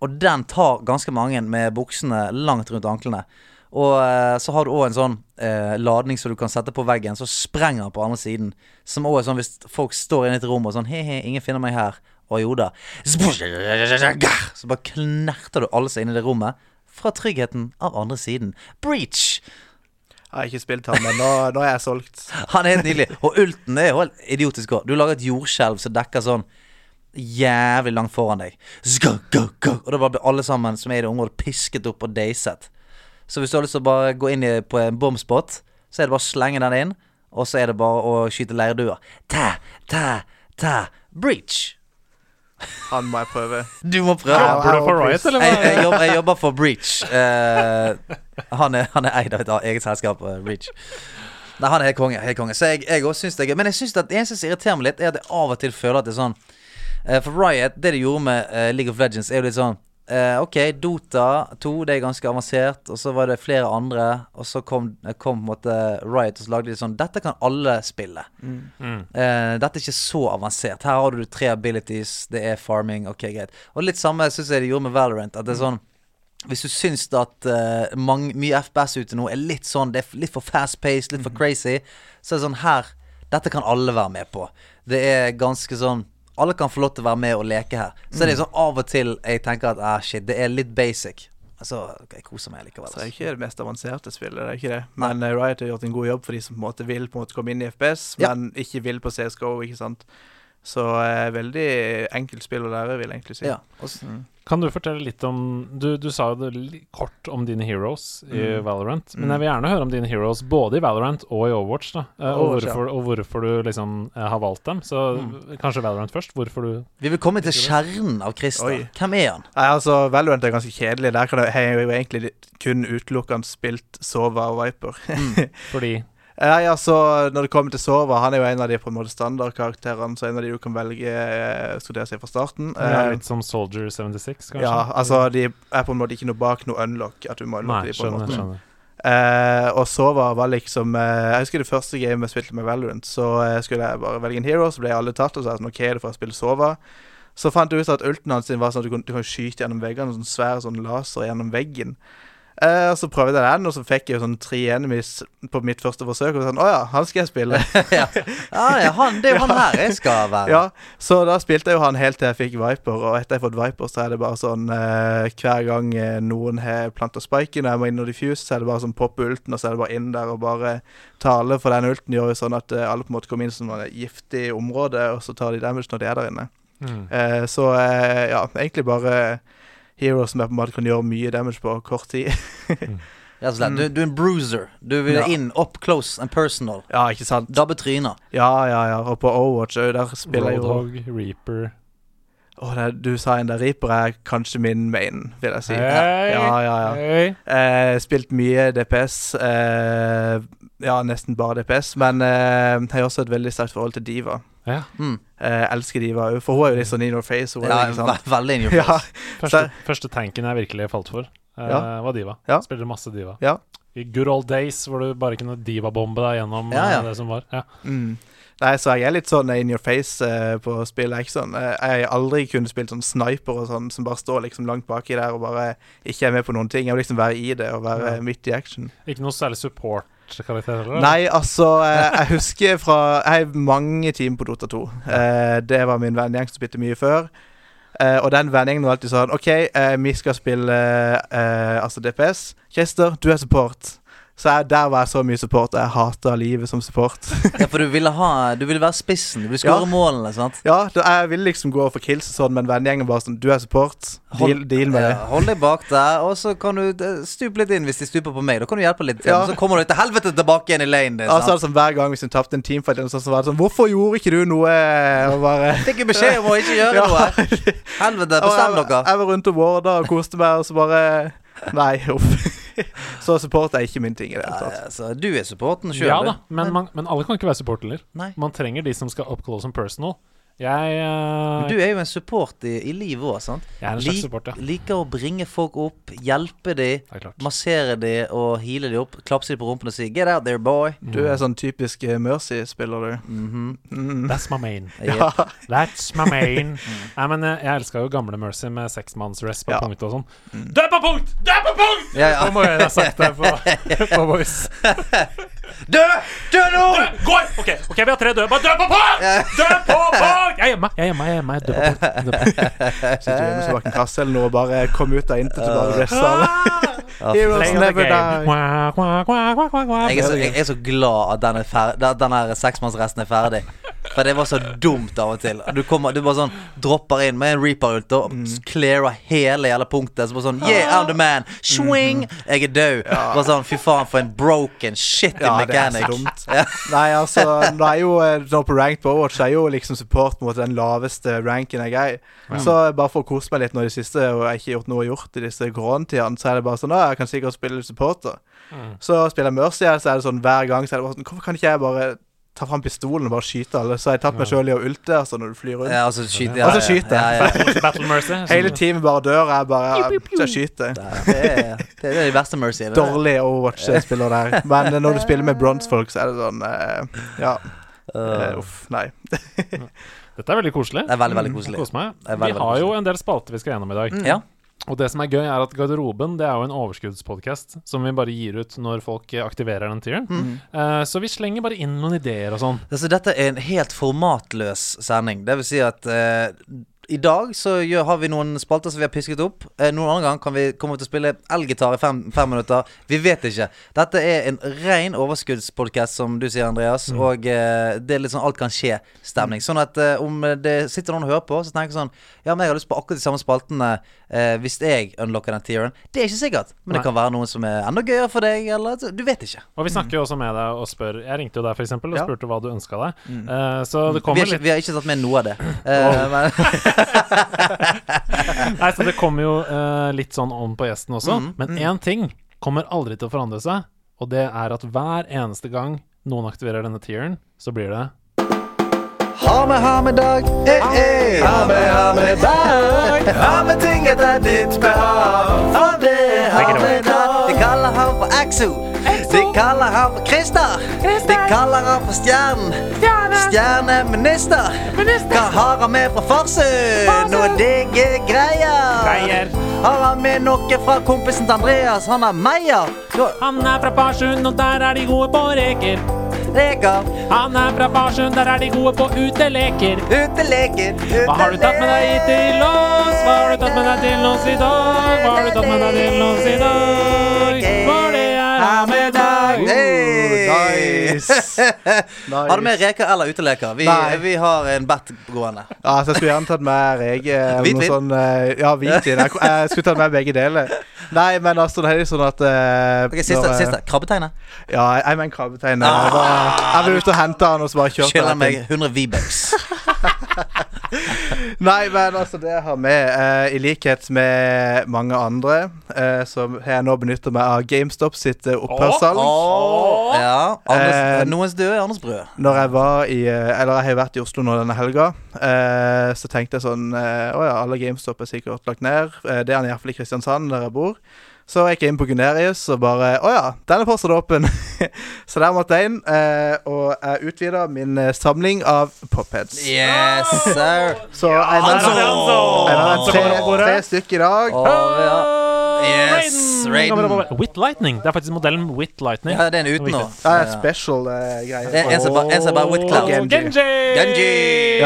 Og den tar ganske mange med buksene langt rundt anklene. Og eh, så har du òg en sånn eh, ladning som du kan sette på veggen, så sprenger han på andre siden. Som òg er sånn hvis folk står inne i et rom og sånn he-he, ingen finner meg her. Og jo da. Så bare knerter du alle seg inn i det rommet. Fra tryggheten av andre siden. Breach! Jeg har ikke spilt han, men nå, nå er jeg solgt. Han er helt nydelig. Og ulten er jo helt idiotisk òg. Du lager et jordskjelv som dekker sånn jævlig langt foran deg. Zga, ga, ga. Og da bare blir alle sammen som er i det området, pisket opp og deiset. Så hvis du har lyst til å bare gå inn i, på en bomspot, så er det bare å slenge den inn, og så er det bare å skyte leirduer. Tæ, tæ, tæ. Breach. Han må jeg prøve. Du må prøve. Ja, Jobber du for Riot, eller Jeg, jeg, hva? jobber, jeg jobber for Breach. Eh, han, er, han er eid av et eget selskap, eh, Breach. Nei, han er helt konge. Helt konge. Så jeg, jeg også syns det er gøy. Men jeg synes at det eneste som irriterer meg litt, er at jeg av og til føler at det er sånn eh, For Riot, det de gjorde med eh, League of Legends, er jo litt sånn eh, OK, Dota 2, det er ganske avansert, og så var det flere andre, og så kom, eh, kom på en måte Riot og så lagde de sånn Dette kan alle spille. Mm. Eh, dette er ikke så avansert. Her har du tre abilities, det er farming, ok, greit. Og litt samme syns jeg de gjorde med Valorant. At det er sånn Hvis du syns at eh, mange, mye FPS ute nå er litt sånn Det er litt for fast paced, litt for crazy, så er det sånn her Dette kan alle være med på. Det er ganske sånn Alle kan få lov til å være med og leke her. Så er det sånn av og til jeg tenker at ah, shit, det er litt basic. Så ok, jeg koser meg likevel. Så det er altså. ikke det mest avanserte spillet, det er ikke det. Men eh, Riot har gjort en god jobb for de som på en måte vil på en måte komme inn i FPS, Ja. men ikke vil på CSGO, ikke sant. Så eh, veldig enkelt spill å lære, vil jeg egentlig si. Ja. Og s- Mm. Kan du fortelle litt om Du, du sa jo det li- kort om dine heroes i Mm. Valorant. Mm. Men jeg vil gjerne høre om dine heroes både i Valorant og i Overwatch. da Eh, og, Overwatch, ja. hvorfor, og hvorfor du liksom eh, har valgt dem. Så Mm. kanskje Valorant først. Hvorfor du Vi vil komme til kjernen av Christer. Oi. Hvem er han? Nei, altså, Valorant er ganske kjedelig. Der kan jeg, har jeg jo egentlig kun utelukkende spilt Sova og Viper. Fordi Nei, altså, når det kommer til Sova, han er jo en av de på en måte standardkarakterene, så en av de du kan velge eh, studere seg fra starten. han er Eh, litt som Soldier 76, kanskje? ja, altså, de er på en måte ikke noe bak noe unlock, at du må Nei, unlocke de på en skjønner. måte. skjønner. Eh, og Sova var liksom eh, Jeg husker det første gamet jeg spilte med Valorant, så eh, skulle jeg bare velge en hero, så ble alle tatt, og så er jeg sånn OK, det får jeg spille Sova. Så fant jeg ut at ulten hans sin var sånn at du kunne, du kunne skyte gjennom veggene, sånn svær sånn laser gjennom veggen. Eh, og så prøvde jeg den, og så fikk jeg jo sånn tre enemies på mitt første forsøk, og sånn Å ja, han skal jeg spille. ja. Ah, ja, han, det er jo han her jeg skal være. Ja, så da spilte jeg jo han helt til jeg fikk Viper, og etter jeg har fått Viper, så er det bare sånn eh, Hver gang eh, noen har planta spiken, og jeg må inn og diffuse, så er det bare sånn poppe ulten, og så er det bare inn der og bare tale, for den ulten gjør jo sånn at eh, alle på en måte kommer inn som et giftig område, og så tar de damage når de er der inne. Mm. Eh, så eh, ja, egentlig bare heroes som jeg på en måte kan gjøre mye damage på kort tid. Rett og slett. Du, du er en bruiser. Du vil Ja. inn up close and personal. ja, ikke sant? Dabbe tryner. Ja, ja, ja. Og på Overwatch eh, der spiller jeg jo Roadhog, Reaper Åh, det- du sa en der Reaper er kanskje min main, vil jeg si. Hei! Ja, ja, ja. Hei. Eh, spilt mye DPS. Eh, ja, nesten bare DPS. Men eh, jeg har også et veldig sterkt forhold til Diva. Ja. Mm. Eh, elsker Diva òg, for hun er jo litt sånn in your face. Hun, Ja, er, ikke sant? ve- veldig in your Ja, face. Første, første tanken jeg virkelig falt for, eh, Ja. var Diva. Ja. Spiller masse Diva. Ja. I good old days hvor du bare kunne Diva-bombe deg gjennom Ja, ja. eh, det som var. Ja. mm. Nei, så jeg er litt sånn in your face eh, på spill. Jeg, er ikke sånn. eh, jeg har aldri kunnet spilt sånn sniper og sånn, som bare står liksom langt baki der og bare ikke er med på noen ting. Jeg vil liksom være i det og være Ja. midt i action. Ikke noe særlig support-karakter heller? Nei, altså eh, Jeg husker fra Jeg har mange timer på Dota 2. Eh, det var min vennegjeng som spilte mye før. Eh, og den vennegjengen var alltid sånn OK, eh, vi skal spille eh, altså DPS. Christer, du er support. Så jeg, der var jeg så mye support. og Jeg hata livet som support. Ja, for du ville, ha, du ville være spissen. Du ville skåre Ja. målene, sant? ja, da, jeg ville liksom gå for kills og sånn, men vennegjengen var sånn Du er support. Deal, Hold- deal med det. Ja, hold deg bak der, og så kan du eh, stupe litt inn hvis de stuper på meg. Da kan du hjelpe litt til. Ja. Så kommer du til helvete tilbake igjen i lanen din. Og så er sant? det sånn hver gang hvis hun tapte en teamfight, eller noe sånt, så var det sånn Hvorfor gjorde ikke du noe? Og bare Fikk jo beskjed om å ikke gjøre Ja. noe. Helvete, bestem jeg, dere. jeg var rundt og warda og koste meg, og så bare Nei, uff. Så support er ikke min ting i det hele Nei, tatt. altså, du er supporten sjøl. Ja da, men, man, men alle kan ikke være support heller. Nei. Man trenger de som skal up close and personal. Jeg, eh, Men Du er jo en support i, i livet òg, sant? jeg er en Lik- slags support, ja. Liker å bringe folk opp, hjelpe de, Det er klart. massere de og heale de opp. Klapse de på rumpen og si 'get out there, boy'. Du er sånn typisk eh, Mercy-spiller, du. Mhm. Mm. That's my main. Ja. That's my main. Mm. Nei, men eh, jeg, jeg elska jo gamle Mercy med seksmanns-rest på Ja. punkt og sånn. Du er på punkt! Du er på punkt! Mm. Ja, ja. Nå må jeg ha sagt det på, på voice. Dø! Dø nå! Gå! OK, ok, vi har tre døde. Bare dø på punkt! Dø på punkt! Jeg er hjemme, jeg er hjemme. jeg er hjemme Jeg dør på punkt. Jeg dør på punkt. Sitter du hjemme så bak en kasse eller noe og bare kom ut av intet og bare sånn. blessa alle. Ja, fy Heroes Play the never game. die. Kwa, kwa, kwa, kwa, kwa, kwa. Jeg sånn- er, så, jeg er så glad at den, er fer- da- den her seksmannsresten er ferdig. For det var så dumt av og til. Du, kommer, du bare sånn dropper inn med en reaper-ult og s- clearer hele jævla punktet. Så bare sånn Yeah, I'm the man! Swing! Jeg er død. Bare sånn, Fy faen, for en broken shit in Ja, det er så mechanic. dumt. Nei, altså, nå er jo eh, nå på ranked på Overwatch er jo liksom support mot den laveste ranken jeg er i. Så eh, bare for å kose meg litt nå i det siste, og jeg har ikke gjort noe gjort i disse koronatidene, så er det bare sånn Å, jeg kan sikkert spille litt support, da. Så spiller jeg Mercy, her, så er det sånn hver gang så er det bare sånn Hvorfor kan ikke jeg bare ta fram pistolen og bare skyte alle? Så har jeg tatt meg sjøl i å ulte, altså, når du flyr rundt. Ja, og så skyter Og så skyter jeg. Altså, Ja, ja. Battle Mercy. Hele teamet bare dør, og jeg bare ja, Så jeg skyter. Det, er, det er de verste mercyene. det. Dårlig Overwatch-spiller der. Men eh, når du spiller med bronsefolk, så er det sånn eh, Ja. eh, Øh, uff. Nei. Dette er veldig koselig. Det er veldig, veldig Jeg koselig. koser meg. Det er veldig, Mm. Vi har veldig jo en del spalter vi skal gjennom i dag. Ja. Og det som er gøy, er at Garderoben det er jo en overskuddspodkast som vi bare gir ut når folk eh, aktiverer den tieren. Mm. Eh, så vi slenger bare inn noen ideer og sånn. Altså, dette er en helt formatløs sending. Det vil si at eh, I dag så gjør, har vi noen spalter som vi har pisket opp. Eh, noen annen gang kan vi komme til å spille elgitar i fem, fem minutter. Vi vet ikke. Dette er en ren overskuddspodkast, som du sier, Andreas. Mm. Og eh, det er litt sånn alt kan skje-stemning. Sånn at eh, om det sitter noen og hører på, så tenker jeg sånn Ja, men jeg har lyst på akkurat de samme spaltene eh, hvis jeg unlocker den tieren. Det er ikke sikkert, men Nei. det kan være noen som er enda gøyere for deg, eller så- Du vet ikke. Og vi snakker jo også med deg og spør Jeg ringte jo deg, for eksempel, og Mm. Ja. Mm. spurte hva du ønska deg. Eh, så det Vi kommer har, ikke, litt vi har ikke tatt med noe av det. Eh, men, Nei, så det kommer jo eh, litt sånn om på gjesten også. Mm. Men én ting kommer aldri til å forandre seg, og det er at hver eneste gang noen aktiverer denne tieren, så blir det Ha med, ha med dag. Eh, eh. Ha med, ha med dag. Ha med ting etter ditt behag. Ha med, ha med dag. De kaller ham for Exo. De kaller ham for Christer. De kaller ham for Stjernen. Stjerneminister. Hva har han med fra Farsund? Noe digge greier. Har han med noe fra kompisen til Andreas? Han er Meyer. Han er fra Farsund, og der er de gode på reker. Reker. Han er fra Farsund, der er de gode på uteleker. Uteleker. Hva har du tatt med deg til oss? Hva har du tatt med deg til oss i dag? Hva har du tatt med deg til oss i dag? For det er her med deg. Hey. Nice. nice. Har du med reker eller uteleker? Vi, Nei. vi har en bet gående. Ja, så jeg skulle gjerne tatt med reg eh, Hvitvin? noe sånn, eh, Ja, hvitvin. Jeg, jeg skulle tatt med begge deler. Nei, men altså, det er jo sånn at eh, Ok, Siste. når, eh, siste. Krabbetegnet. Ja, jeg, jeg mener krabbeteinen. Jeg, bare- jeg vil ut og hente han, og så bare kjørte Skylder meg 100 V-bucks. Nei, men altså, det jeg har med, eh, i likhet med mange andre, eh, som jeg nå benytter meg av GameStop sitt eh, opphørssalg Ja. Anders, Eh, noens døde er Anders brød. Når jeg var i eh, Eller jeg har jo vært i Oslo nå denne helga, eh, så tenkte jeg sånn eh, Å ja, alle GameStop er sikkert lagt ned. Eh, det er iallfall i Kristiansand, der jeg bor. Så gikk jeg inn på Gunerius og bare Å ja, den er fortsatt åpen. så der måtte jeg inn, eh, og jeg utvida min eh, samling av popheads. Yes, sir. Så jeg der er det vant han så. jeg Han vant som tre, kommer opp bordet. tre stykker i dag. Og vi har Yes, Raiden. Raiden. With Lightning. Det er faktisk modellen With Lightning. Ja, det er en uten nå. Det er special eh, greier. Det er en som bare- en som bare With Cloud. Genji. Genji! Genji! Mm.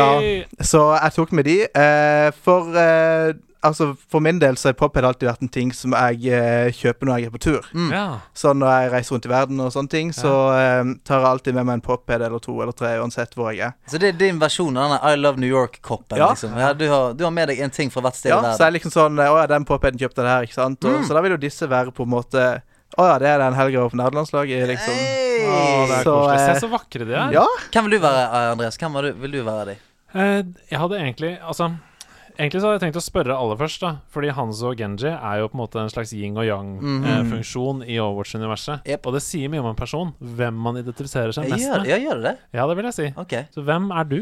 Ja. Så jeg tok med de. eh, for eh, Altså, For min del så har pophead alltid vært en ting som jeg eh, kjøper når jeg er på tur. Ja. Så når jeg reiser rundt i verden, og sånne ting, så eh, tar jeg alltid med meg en pophead eller to eller tre, uansett hvor jeg er. Så det er din versjon av denne I Love New York-koppen. Ja. Liksom. Ja, du, har, du har med deg en ting fra hvert sted i Ja, Så verden. Mm. jeg er liksom sånn eh, Å ja, den popheaden kjøpte jeg her, ikke sant? Og, Så da vil jo disse være på en måte Å ja, det er den helga på nerdelandslaget, liksom. Hey. Å, det er Så, koselig. eh, Se så vakre de er. Ja. Hvem vil du være, eh, Andreas? Hvem var du, vil du være de? Eh, Jeg hadde egentlig Altså Egentlig så hadde jeg tenkt å spørre alle først, da. Fordi Hanzo og Genji er jo på en måte en slags yin og Mhm. yang-funksjon i Overwatch-universet. Yep. Og det sier mye om en person hvem man identifiserer seg mest Gjør, med. ja, gjør du det? Ja, det vil jeg si. Ok. Så hvem er du?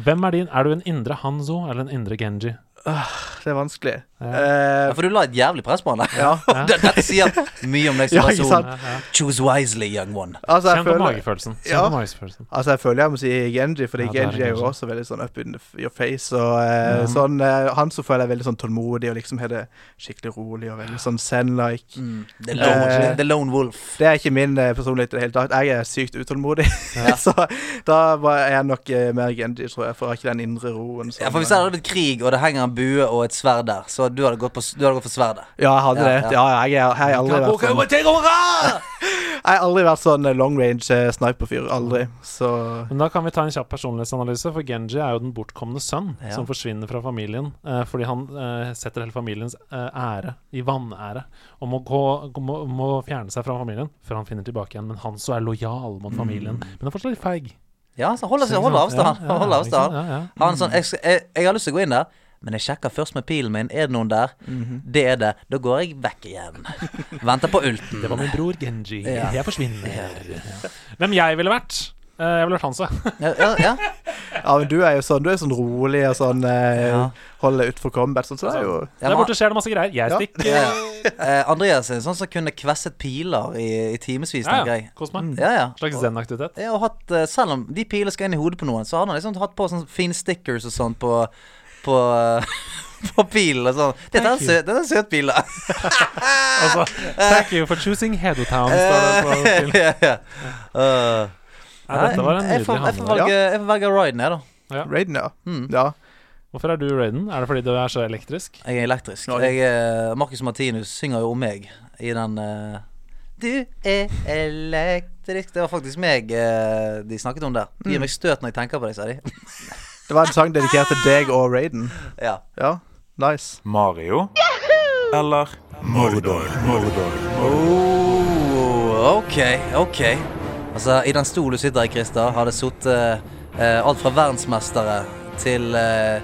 Hvem er din? Er du en indre Hanzo eller en indre Genji? Det er vanskelig. Ja. Eh, Ja, for du la et jævlig press på han der. Ja. Det- Dette sier mye om deg som Ja, ikke person. sant? Ja, ja. Choose wisely, young one. altså, jeg Kjenn på føler magefølelsen. Kjenn Ja. på magefølelsen. Altså, jeg føler jeg må si Genji, fordi Ja, det er Genji er jo Genji. også veldig sånn up in the f- your face. Og eh, sånn, eh, han som føler jeg er veldig sånn tålmodig og liksom har det skikkelig rolig og veldig sånn zen-like. Mm. The, Ja. lone, Eh, the lone wolf. Det er ikke min eh, personlighet i det hele tatt. Jeg er sykt utålmodig, så da var- er jeg nok eh, mer Genji, tror jeg, for jeg har ikke den indre roen. som- Ja, for Hvis det hadde blitt krig, og det henger en bue og et sverd der, så du hadde gått, på, s- du hadde gått for sverdet. eh, Ja, jeg hadde Ja, det. Ja, ja, jeg, er- jeg har aldri vært sånn, jeg har aldri vært sånn eh, long range eh, sniper-fyr. Aldri. Så Men da kan vi ta en kjapp personlighetsanalyse, for Genji er jo den bortkomne sønn Ja. som forsvinner fra familien eh, fordi han eh, setter hele familiens eh, ære i vanære og må, gå, må, må fjerne seg fra familien før han finner tilbake igjen. Men han så er lojal mot Mm. familien. Men han er fortsatt litt feig. Ja, så hold, hold avstand. Ja, ja, Hold ikke sant? avstand. Ja, ja. Ha en sånn, jeg, skal- jeg, jeg har lyst til å gå inn der, men jeg sjekker først med pilen min. Er det noen der? Det er det. Da går jeg vekk igjen. Venter på Det var ulten. min bror Genji. Ja. Jeg forsvinner. Hvem jeg ville vært? Eh, jeg ville vært Hanse. Ja, ja, ja. Ja, men du er jo sånn, du er sånn rolig og sånn eh, Ja. Holder utfor combat, sånn, så det er jo Ja, Der men- borte skjer det masse greier. Jeg Ja. stikker. ja, ja. Eh, Andreas er en sånn som kunne kvesset piler i, i timevis, Ja, tenker ja. jeg. Kos meg. Ja, Mm. ja. Slags zen-aktivitet. Ja, og hatt, eh, selv om de pilene skal inn i hodet på noen, så har han liksom hatt på sånne fine stickers og sånn på På, eh, på pilen og sånn. Dette er en Thank you. søt, dette er en søt pil, da. Altså, Eh. thank you for choosing Hedotown. står det på film. ja, ja. Uh, Nei, dette var en jeg nydelig får, jeg får handling. Mm. velge, jeg får velge Ryden, jeg, da. Raiden, ja. Ja. Hvorfor er du Raiden? Er det fordi du er så elektrisk? Jeg er elektrisk. Ok. Jeg, eh, Marcus Martinus synger jo om meg i den eh, Du er elektrisk Det var faktisk meg eh, de snakket om der. De Mm. gir meg støt når jeg tenker på det, sa de. Det var en sang dedikert til deg og Raiden. Ja. Ja, nice. Mario eller Mordor. Oh, ok, ok. Altså, i den stolen du sitter i, Christer, har det sittet eh, alt fra verdensmestere til eh,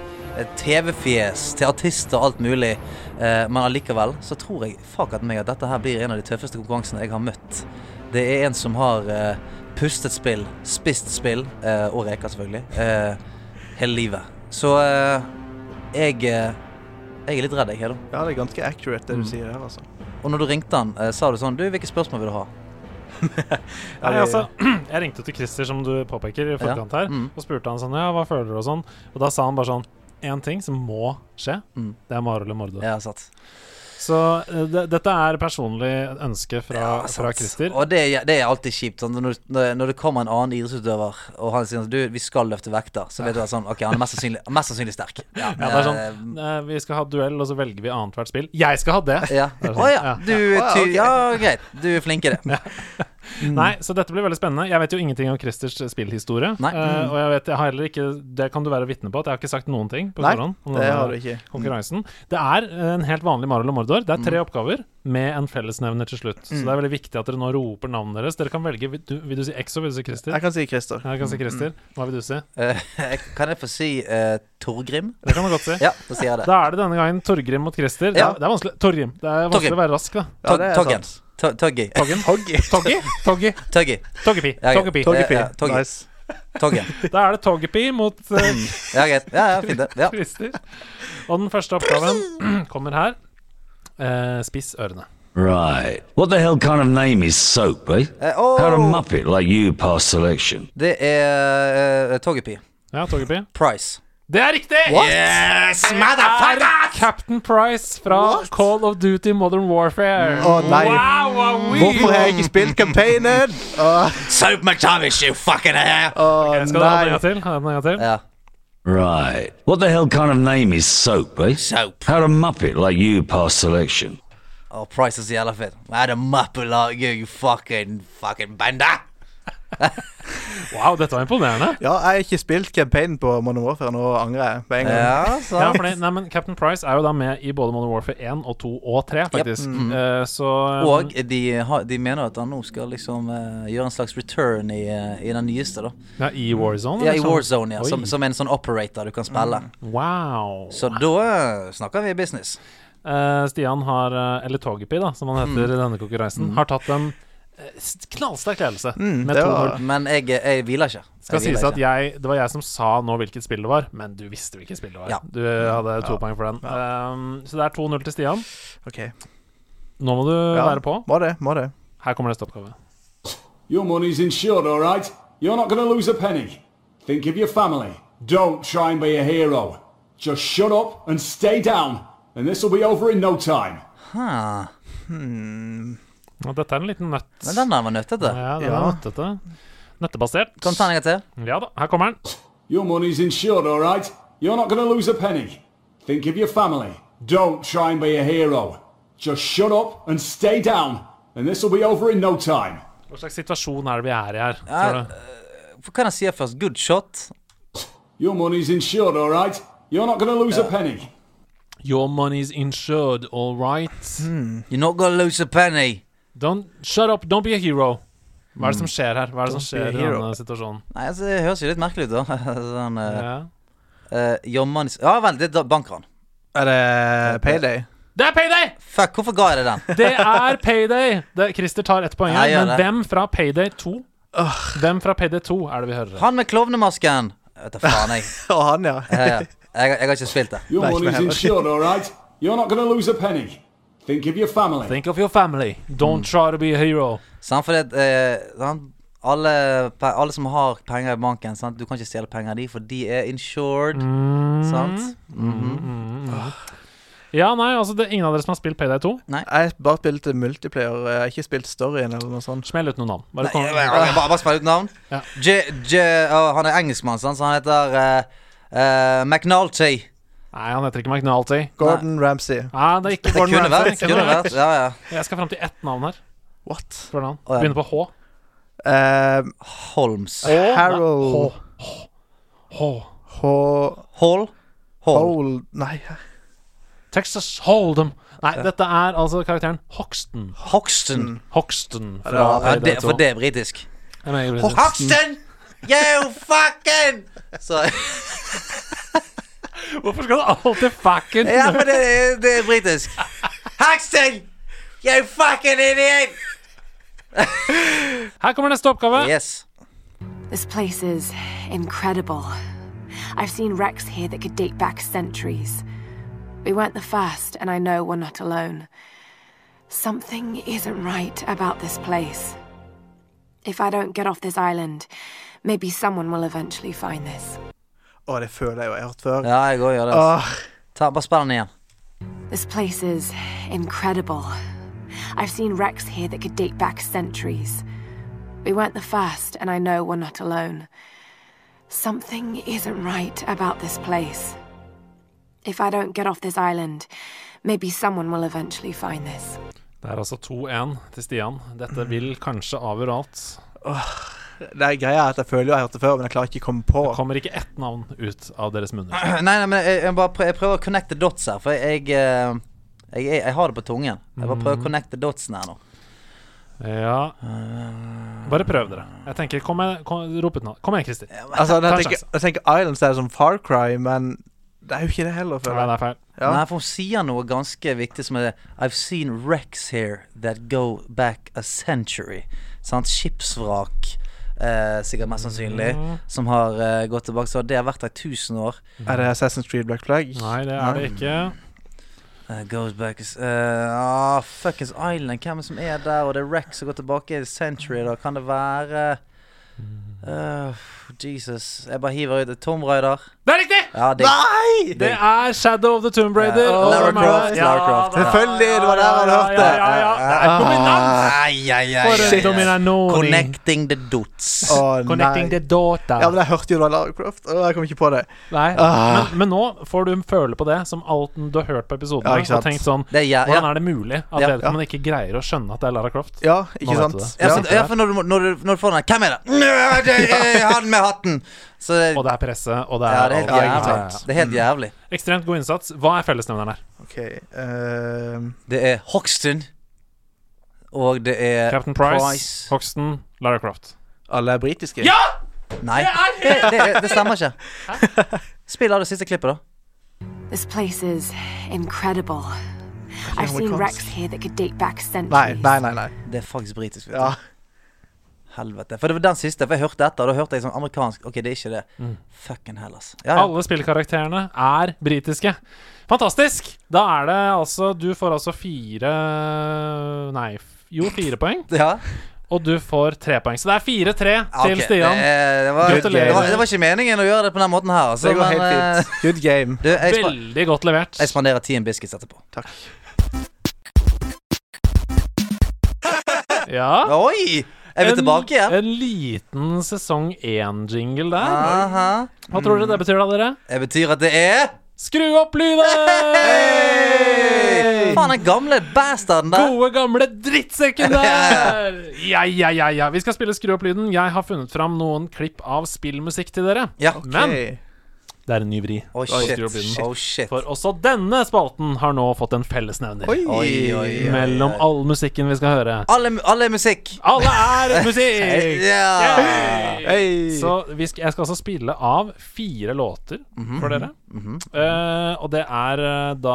TV-fjes, til artister og alt mulig. Eh, men allikevel så tror jeg fuck at meg at dette her blir en av de tøffeste konkurransene jeg har møtt. Det er en som har eh, pustet spill, spist spill, eh, og reker selvfølgelig, eh, hele livet. Så eh, jeg, eh, jeg er litt redd, jeg, Hedo. Ja, det er ganske accurate, det du Mm. sier der, altså. Og når du ringte han, eh, sa du sånn Du, hvilke spørsmål vil du ha? Nei, det- altså, jeg ringte til Christer, som du påpeker, i forkant her, mm. og spurte han sånn Ja, hva føler du, og sånn. Og da sa han bare sånn Én ting som må skje, Mm. det er Maro eller Mordo. Ja, sant. Så eh, det, dette er personlig ønske fra, Ja, sant. fra Christer. Og det, er- det er alltid kjipt. Sånn, når, når- når det kommer en annen idrettsutøver og han sier sånn Du, vi skal løfte vekter. Så vet du at sånn Ok, han er mest sannsynlig, mest sannsynlig sterk. Ja, Ja, det er sånn eh, Vi skal ha duell, og så velger vi annethvert spill. Jeg skal ha det! eh, ja. Det er Å sånn, ja. ja. Du Ja, ty... ok. Ja, greit. Du er flink i det. Nei, så dette blir veldig spennende. Jeg vet jo ingenting om Christers spillhistorie. Nei. eh, og jeg vet, jeg har heller ikke Det kan du være vitne på, at jeg har ikke sagt noen ting på Nei, forhånd. om Det denne har du ikke. konkurransen. Det er eh, en helt vanlig Marol og Mordor. Det er Mm. tre oppgaver med en fellesnevner til slutt. Så det er veldig viktig at dere nå roper navnet deres. Dere kan velge Vil du, vil du si Exo, vil du si Christer? Jeg kan si Christer. Ja, Jeg Mm. kan si Christer. Hva vil du si? Eh, kan jeg få si eh, Torgrim? Det kan du godt si. Ja, da sier jeg det. Da er det denne gangen Torgrim mot Christer. Det, Ja. er, det er vanskelig Torgrim. Det er vanskelig Torgrim. å være rask, da. Ja, det er Toggen. sant. To- Toggy. Toggen. Toggi. Toggi. Toggy. Toggepi. Ja, Toggepi. greit. Toggepi. Ja, ja, Togge. Nice. Toggen. Da er det Toggepi mot eh, Ja, greit. Ja, ja, fint det. Mm. Ja. Eh, Christer. Og den første oppgaven kommer her. Eh, spiss ørene. Right. What the hell kind of name is Soap, eh? Eh, How to Åh muppet like you past selection. det er uh, Toggepi. Ja, Toggepi. Price. Det er riktig! Yes, er Captain Price fra Call of Duty Modern Warfare. Å nei. Wow, wow, wow. Hvorfor har jeg ikke spilt campaignen? Å Soap McTavish, you fucking hair! å, Jeg skal ha den en nei. gang til. ha den en gang til. Ja. Right. What the hell kind of name is Soap, eh? Soap. How to muppet like you past selection. Og Price is the elephant. I had a muppet like you, you fucking, fucking bender! Wow, dette var imponerende. Ja, jeg har ikke spilt campaignen på Modern Warfare, nå angrer jeg med en gang. Ja, Ja, sant. fordi, nei, men Captain Price er jo da med i både Modern Warfare 1 og 2 og 3, faktisk. Eh, så Mm-hmm. Og de, har- de mener at han nå skal liksom eh, gjøre en slags return i, eh, i den nyeste, da. ja, i War Zone? Ja, I liksom. Warzone, ja. Som, Oi. Mm. som en sånn operator du kan spille. Wow. Så da eh, snakker vi business. Eh, Stian har, eh, eller Togepi, da, som han Mm. heter i denne konkurransen, har tatt en eh, s- knallsterk ledelse Mm, med det 2-0. var- Men jeg, eh, jeg hviler ikke. Jeg Skal hviler sies at ikke. jeg, Det var jeg som sa nå hvilket spill det var, men du visste hvilket spill det var. Ja. Du eh, hadde to poeng for den. Ehm, så det er 2-0 til Stian. Ok. Nå må du Ja. være på. Må det, må det. Her kommer neste oppgave. Your money's insured, all right? You're not going to lose a penny. Think of your family. Don't try and be a hero. Just shut up and stay down, and this will be over in no time. Ah, Og dette er en liten nøtt. men den der var nøttete. Ja, den Ja. er nøttete. Nøttebasert. Kom terninger til. Ja da, her kommer den. Your money's insured, all right? You're not going to lose a penny. Think of your family. Don't try and be a hero. Just shut up and stay down, and this will be over in no time. Hva slags situasjon er det vi er i her? Ja, Tror du? Hva kan jeg si først? Good shot. Your money's insured, all right? You're not going to lose a penny. Your money's insured, all right. You're not gonna lose a penny. Don't, shut up, don't be a hero. Hva er det som Hmm. skjer her? Hva er det som skjer i hero. denne situasjonen? Nei, altså, Det høres jo litt merkelig ut, da. sånn, eh, Ja. eh, your money's- Ja vel, det er da- bankran. Er det payday? Det er payday! Fuck, hvorfor ga jeg deg den? Det er payday! Det, Christer tar ett poeng, Ja, jeg her, gjør men det. hvem fra payday 2? Hvem fra payday 2 er det vi hører? Han med klovnemasken! Jeg Vet da faen, jeg. Å, han, ja. Ja, ja. Jeg, jeg har ikke spilt det. Your Nice money's man. insured, all right? You're not going to lose a penny. Think of your family. Think of your family. Don't try to be a hero. Sant, for det, eh, sant? Alle, pe- alle som har penger i banken, sant? du kan ikke stjele penger av de, for de er insured. Sant? Ja, nei, altså det er ingen av dere som har spilt Payday 2. Jeg har bare spilt multiplayer, jeg har ikke spilt storyen eller noe sånt. Smell ut noen navn. Bare Nei, kom. jeg- jeg- jeg Bare, bare spill ut navn. Ja. J, J, å, han er engelskmann, sant? så han heter eh, eh, McNulty. Ah, Nei, han heter ikke McNulty. Gordon Ramsay. Nei, det er ikke Det Gordon kunne Ramsay, vært. ikke kunne noe. vært, ja, ja. Jeg skal fram til ett navn her. What? Hva er det navn? Å, ja. Begynner på H. Eh, Holmes. Harold H. Ho- Hall? Hall. Hole Nei, Texas Hold'em. Nei, dette er altså karakteren Hoxton. Hoxton. Mm. Hoxton fra Ja, Payday det, 2. for det er britisk. Jeg mener, jeg vet ikke. Hoxton! You fucking Så, Hvorfor skal du alltid fucking Ja, men det, er- det er britisk. Hoxton! You fucking idiot! Her kommer neste oppgave. Yes. This place is incredible. I've seen wrecks here that could date back centuries. We weren't the first, and I know we're not alone. Something isn't right about this place. If I don't get off this island, maybe someone will eventually find this. Å, det føler jeg jo jeg har hørt før. Ja, jeg òg gjør det. altså. Åh, Ta, bare spill den igjen. This place is incredible. I've seen wrecks here that could date back centuries. We weren't the first, and I know we're not alone. Something isn't right about this place. If I don't get off this island, maybe someone will eventually find this. Det er altså 2-1 til Stian. Dette vil kanskje avgjøre alt. det er greia er at jeg føler jo jeg har hørt det før, men jeg klarer ikke å komme på. Kommer ikke ett navn ut av deres munner. Nei, nei, men jeg, jeg, bare prøver, jeg prøver å connecte dots her, for jeg, eh, jeg, jeg, jeg har det på tungen. Jeg bare prøver å connecte dotsen her nå. Ja Bare prøv dere. Jeg tenker Kom igjen, kom- rop ut navn. Kom igjen, Christer. Nei, Altså, når jeg, Ta en tenker, jeg tenker Islands er som Far Cry, men det er jo ikke det heller, føler det jeg. er feil. Ja. Nei, for hun sier noe ganske viktig som er I've seen wrecks here that go back a century. Sant? Skipsvrak, eh, sikkert mest sannsynlig, som har eh, gått tilbake. Så det har vært der i 1000 år. Er det Assassin's Creed Black Flag? Nei, det er det ikke. Eh, goes back a s- eh, ah, Fuckings Island. Hvem er det som er der, og det er wrecks som går tilbake i century, da? Kan det være eh, Jesus. Jeg bare hiver ut et Tom Raider. Det er riktig! Ja, det Nei! Det er Shadow of the Tomb Raider. Ja, og Lara hvem er Croft, det? Lara Croft. da, Selvfølgelig, det var der han ja, hørte. Ja, ja, ja. Det er dominant. Ai, ai, ai, For en ai, dominanoni. Connecting the dots. Å, Connecting Ah, nei. the daughter. Ja, men jeg hørte jo det var Lara Croft, og jeg kom ikke på det. Nei. Ah. Men, men nå får du føle på det som alt du har hørt på episoden Ja, ikke sant. og tenkt sånn Det er jeg- Hvordan ja. er det mulig at Ja. vedkommende ikke greier å skjønne at det er Lara Croft? Ja, ikke Nå vet du sant? det. Ja, Ja. for, ja, for når, du, må- når, du, når du får den her, Hvem er det? Nå, det er han med hatten! Så det, Og det er presse, og det ja, er det er alt. helt ja, ikke jævlig. sant. Det er helt jævlig. Ekstremt god innsats. Hva er fellesnevneren her? Ok, ehm, Det er Hoxton, og det er Captain Price, Hoxton, Lara Croft. alle er britiske? Nei, det, det, det stemmer ikke. Spill av det siste klippet, da. This place is incredible. I've seen Amerikansk. wrecks here that could date back Nei, centuries. nei, nei. nei. Det er faktisk britisk. Vet du. Ja. Helvete. For det var den siste. For jeg hørte etter, og da hørte jeg sånn amerikansk. Ok, det er ikke det. Fucking Hellas. Ja, ja. Mm. Alle spillkarakterene er britiske. Fantastisk! Da er det altså Du får altså fire Nei, f- jo, fire poeng. ja. Og du får tre poeng. Så det er fire-tre Ok, Eh, til Stian. Det, er- det, var, Gratulerer. det, var, det var ikke meningen å gjøre det på den måten her, altså. Det går men, helt eh, fint. Good game. Du, jeg, eh, spa- Veldig godt levert. jeg spanderer Team Biscuits etterpå. Ja. Oi! Er vi En- tilbake igjen? En liten sesong én-jingle der. Aha. Hva tror dere det betyr, da, dere? Det betyr at det er Skru opp lyden! Faen, den gamle bastarden der. Gode, gamle drittsekken der! Ja, ja, ja, ja. Vi skal spille Skru opp lyden. Jeg har funnet fram noen klipp av spillmusikk til dere. Ja. Men Ok. det er en ny vri. Oh på shit. Skru opp lyden. Oh shit. For også denne spalten har nå fått en fellesnevner Oi. Oi, oi, oi. mellom all musikken vi skal høre. Alle, alle er musikk. Alle er musikk! Ja. Yay! Hey. Så vi sk jeg skal altså spille av fire låter Mhm. for dere. Eh, og det er eh, da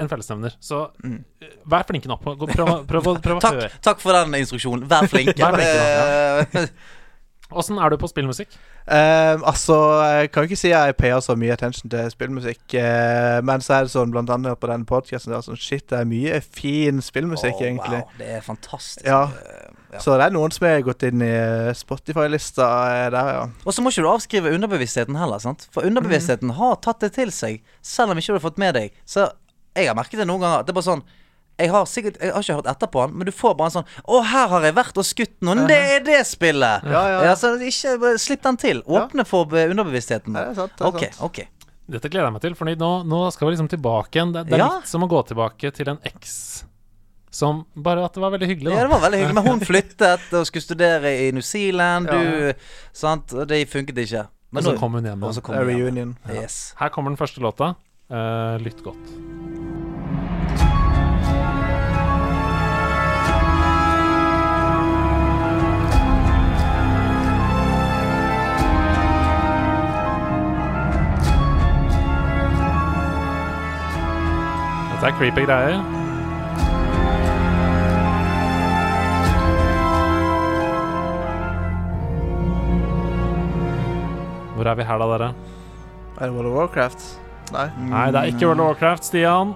en fellesnevner. Så eh, vær flinke nå. Gå- Prøv, å- prøv, å- prøv å Mm. Takk, høre. takk for den instruksjonen. Vær flink. Vær flink, Eh, Åssen er du på spillmusikk? Ehm, altså, jeg kan jo ikke si at jeg payer så mye attention til spillmusikk, eh, men så er det sånn, blant annet på denne podcasten, det er sånn, shit, det er mye fin spillmusikk, Å, egentlig. Wow, det er fantastisk. Ja. Eh, Så det er noen som har gått inn i eh, Spotify-lista eh, der, ja. Og så må ikke du avskrive underbevisstheten heller, sant? Mhm. For underbevisstheten har tatt det til seg, selv om ikke du har fått med deg. Så jeg har merket det noen ganger. Det er bare sånn jeg har sikkert, jeg har ikke hørt etter på han, men du får bare en sånn 'Å, her har jeg vært og skutt noen.' Det er det spillet! Mhm. Ja, ja. så ikke, bare Slipp den til. Åpne for eh, underbevisstheten. Ja, det er sant, det er ok, sant. ok. Dette gleder jeg meg til, for nå, nå skal vi liksom tilbake igjen. Det, det er Ja. litt som å gå tilbake til en eks som Bare at det var veldig hyggelig, da. Ja, det var veldig hyggelig. Men hun flyttet og skulle studere i New Zealand. Ja. Du, sant? Og det funket ikke. Men Og så nå- kom hun hjem. og så igjen. kom hun hjem. Reunion. Yes. Her kommer den første låta. Eh, lytt godt. Dette er creepy greier. Hvor er vi her, da, dere? Er det World of Warcraft? Nei. Nei, det er ikke World of Warcraft, Stian.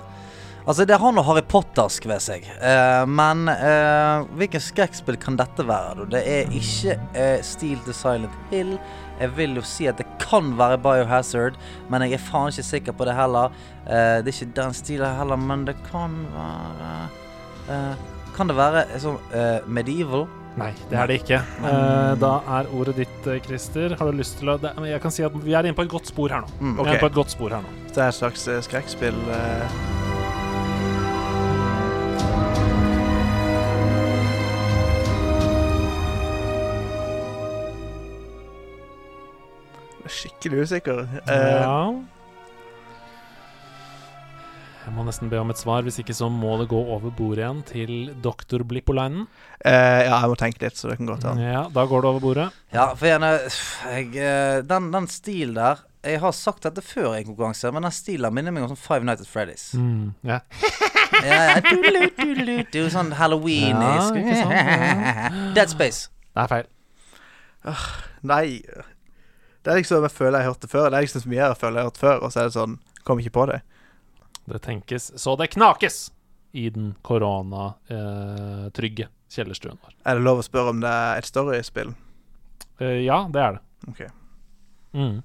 Altså, det har noe Harry Pottersk ved seg. Eh, men eh, hvilken skrekkspill kan dette være, da? Det er ikke eh, Steel to Silent Hill. Jeg vil jo si at det kan være Biohazard, men jeg er faen ikke sikker på det heller. Eh, det er ikke den stilen heller, men det kan være eh, Kan det være eh, sånn eh, medieval? Nei, det er det ikke. Eh, da er ordet ditt, eh, Christer. Har du lyst til å det, men Jeg kan si at vi er inne på et godt spor her nå. Vi er ok. inne på et godt spor her nå. Det er et slags eh, skrekkspill. eh. Jeg er Skikkelig usikker. Eh, Ja. Jeg må nesten be om et svar, hvis ikke så må det gå over bordet igjen til doktor Blippolainen. eh, ja, jeg må tenke litt, så det kan godt hende. Ja, da går det over bordet. Ja, for gjerne jeg, eh, den, den stilen der Jeg har sagt dette før i en konkurranse, men den stilen minner meg om sånn Five Nights at Freddy's. Mm, ja. ja, ja. Tudelu, tudelu, tudelu, Sånn halloween Ja, ikke Dead Space. Det er feil. Nei. Det er liksom jeg føler jeg har hørt det før. Det er liksom så mye jeg føler jeg har hørt før, og så er det sånn Kom ikke på det. Det tenkes så det knakes i den koronatrygge kjellerstuen vår. Er det lov å spørre om det er et storyspill? Eh, ja, det er det. Ok. Mm.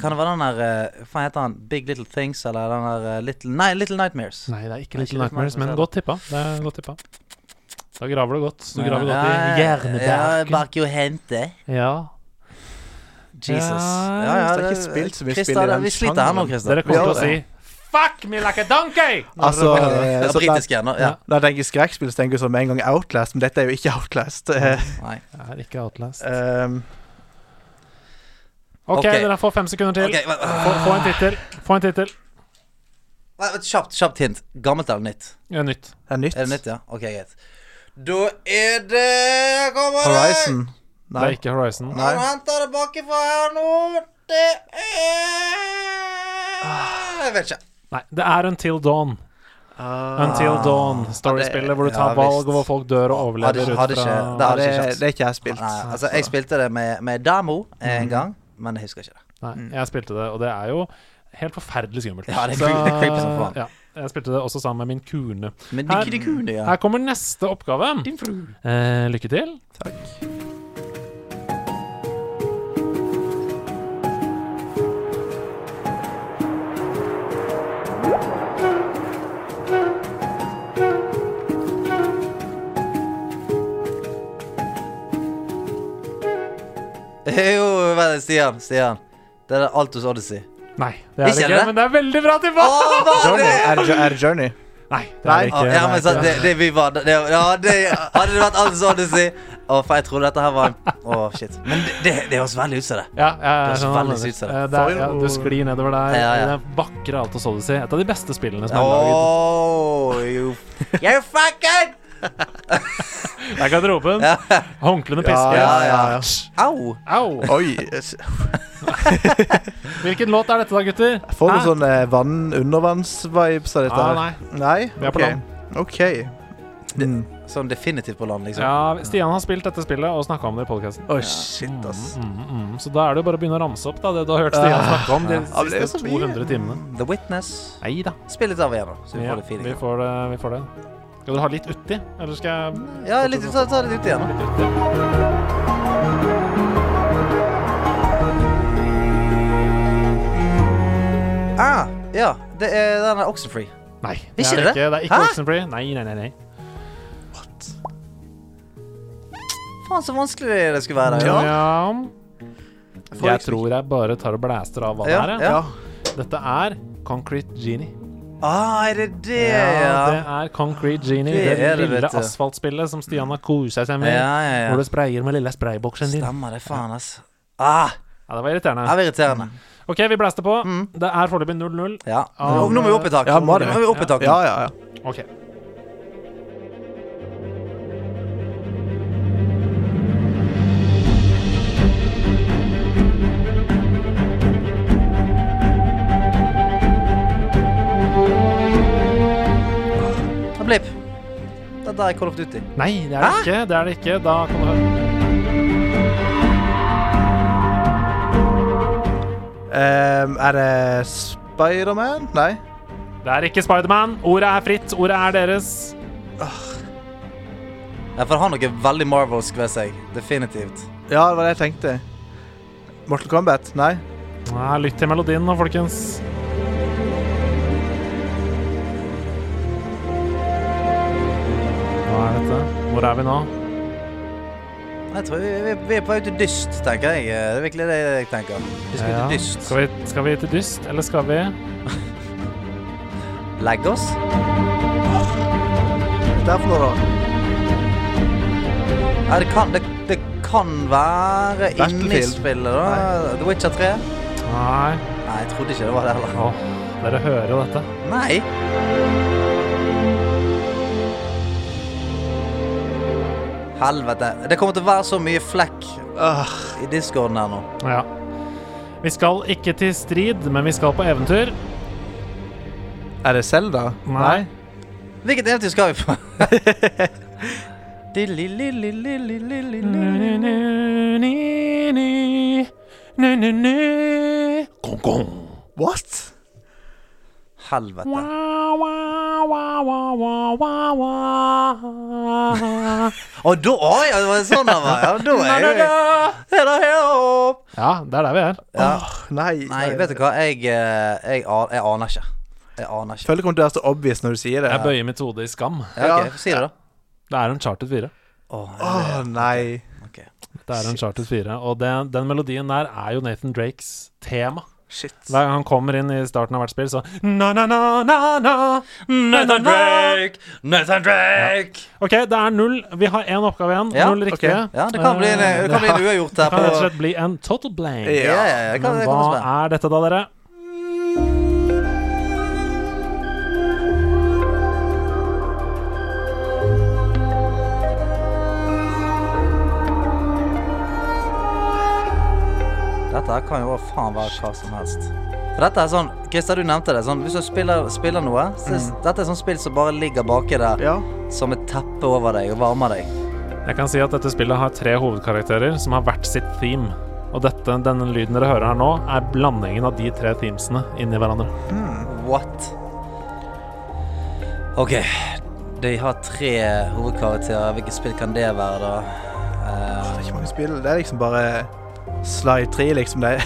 Kan det være den der eh, Hva heter han? Big Little Things? Eller den der eh, Little Nei, Little Nightmares. Nei, det er ikke Nei, Little ikke Little Nightmares, men Nightmares, godt tippa. Det er godt tippa. Da graver du godt. Du Ja, graver godt i ja, Ja, hjernebarken. bak jo hente. Ja. Jesus. Ja, det er ikke spilt så mye Christer, spill i den Vi sliter her nå, sjangeren. Christer. Dere kommer til å Ja, si Fuck me like a donkey! Altså, Det eh, er så da, britisk igjen nå. Ja. da tenker jeg skrekkspill, så tenker jeg sånn med en gang Outlast, men dette er jo ikke Outlast. Eh, Nei. Det er ikke Outlast. ehm, OK, ok. dere får fem sekunder til. Ok, vent, vent, Få, få en tittel. Få en tittel. vent, Kjapt, kjapt hint. Gammelt eller nytt? Ja, nytt. det er nytt. Er det nytt, ja? Ok, greit. Da er det Kommer det Horizon. Det Nei. er ikke Horizon. Nei. Han henter det bakifra her nå. Det er Jeg vet ikke. Nei, det er Until Dawn. Until Dawn, Ah, Ja, storiespillet hvor du ja, tar valg, visst. og hvor folk dør og Hadde- overlever hadde ut fra ikke- Ja, hadde det, ikke sjans. det er ikke jeg spilt. Nei, altså, jeg spilte det med, med Damo en gang, men jeg husker ikke det. Nei, jeg spilte det, og det er jo helt forferdelig skummelt. Mm. Ja, det er creepy- det er creepy som faen. ja, jeg spilte det også sammen med min kune. Men Her- de, de kunne, ja. Her kommer neste oppgave. Eh, lykke til. Jo, vent, litt, Stian. Stian. Det er Altos Odyssey. Nei, det er det Ikke er ikke, det? men det er veldig bra tilbake! Å, hva er Journey. det? Er, det jo- er det Journey? Nei, det Nei. er det Ja, ikke. ja, men sant, det, det, det vi var det, Ja, det hadde det vært Altos Odyssey Å, for jeg trodde dette her var en Å, shit. Men det, det, det høres veldig ut som det. ja, ja, Det er så sånn veldig annerledes. sykt, det. Eh, det er, ja, du Får jo- sklir nedover der. Ja, ja. Det er vakre alt og så du si. Et av de beste spillene som er laget. Oh, you, you fucking Det er garderoben. Håndklærne pisker. Ja, ja, ja. Au. Au! Oi. s- Hvilken låt er dette, da, gutter? Jeg får Hæ? noen sånn- sånne eh, vann undervanns-vibes av Ah, dette. her. nei. nei? Vi er på Ok. land. OK. Mm. Sånn definitivt på land, liksom. Ja, Stian har spilt dette spillet og snakka om det i podkasten. Oi, shit, ass. Mm, mm. Så da er det jo bare å begynne å ramse opp da, det du har hørt Stian snakke om de Ja, men det er siste så mye. 200 timene. The Witness. Nei da. Spill litt av igjen, da. Så vi Ja, får det fint. vi får det. Vi får det. Skal dere ha litt uti, eller skal jeg Ja, litt, ta, ta litt ut igjen. da. litt uti? Ah, ja, det er den er Oxenfree. Nei. Ikke er det? Ikke, det er ikke Hæ? Oxenfree. Nei, nei, nei. nei. Faen, så vanskelig det skulle være. da. Ja. Jeg får Jeg liksom- tror jeg bare tar og blæster av hva Ja, det er. jeg. ja. Ja. Dette er Concrete Genie. Ah, er det det, Det er Concrete Genie, Det det, er det, lille vet du. asfaltspillet som Stian har kosa seg med. Ja, ja, ja. Hvor du sprayer med lille sprayboksen din. Stemmer det, faen, ass. Ah, Ja, det var irriterende. det er irriterende. OK, vi blæster på. Mm. Det er foreløpig 0-0. Ja. Ah, Nå, nå må vi opp i tak. Ja, må nå det. må vi opp i tak. Ja, ja, ja. OK. Ja, Blipp. Dette er Call of Duty. Nei, det er det ikke. Det er det ikke. Da kan du høre. Ehm, er det Spiderman? Nei. Det er ikke Spiderman. Ordet er fritt. Ordet er deres. Ja, for det har noe veldig Marvelsk ved seg. Definitivt. Ja, det var det jeg tenkte. Mortal Kombat? Nei. Nei, lytt til melodien nå, folkens. Hva er dette? Hvor er vi nå? Jeg tror vi, vi, vi er på vei til dyst, tenker jeg. Eh, Det er virkelig det jeg tenker. Vi skal Ja. til dyst. Skal, vi, skal vi til dyst, eller skal vi Legge oss? Det er for noe, da. Ja, det kan, det, det kan være inni Battlefield. spillet, da. The Witcher 3? Nei. Nei, jeg trodde ikke det var det heller. Åh, dere hører jo dette. Nei. Helvete. Det kommer til å være så mye flekk i discorden her nå. Ja. Vi skal ikke til strid, men vi skal på eventyr. Er det Zelda? Nei. Hvilket eventyr skal vi på? Gong, gong. What? Helvete. Wa, wa, wa, wa, wa, wa, wa. Å, da Oi, ja, det var sånn det var. Ja, da Na, er na, jeg jo na. Hela, hela opp. Ja, det er der vi er. Ja. Nei. Nei, vet du hva? Jeg, eh, jeg, an- jeg aner ikke. Jeg aner ikke. Føler det kommer til å være så obvious når du sier det. Jeg bøyer mitt hode i skam. Ja, ok, få si det, da. Det er en Charted 4. Åh, Åh, nei. ok. Det er en Charted 4 Og det, den melodien der er jo Nathan Drakes tema. Shit. Hver gang han kommer inn i starten av hvert spill, så na, na, na, na, na. Nathan Drake! Nathan Drake! OK, det er null. Vi har én oppgave igjen. Ja, null riktige. Eh, ok. Ja, det kan bli en, det kan bli en uavgjort Det her. kan rett og På, slett bli en total blank. ja, ja, ja, det kan, Men det hva kan være spennende. er dette, da, dere? Dette her kan jo også faen være hva som helst. For dette er sånn, Christer, du nevnte det. sånn, Hvis du spiller, spiller noe så er- Dette er sånn spill som bare ligger baki der Ja. som et teppe over deg og varmer deg. Jeg kan si at dette spillet har tre hovedkarakterer som har hvert sitt theme. Og dette, denne lyden dere hører her nå, er blandingen av de tre themesene inni hverandre. What? OK. De har tre hovedkarakterer. Hvilket spill kan det være, da? Det Eh, er ikke mange spill. Det er liksom bare Slide 3, liksom. Det,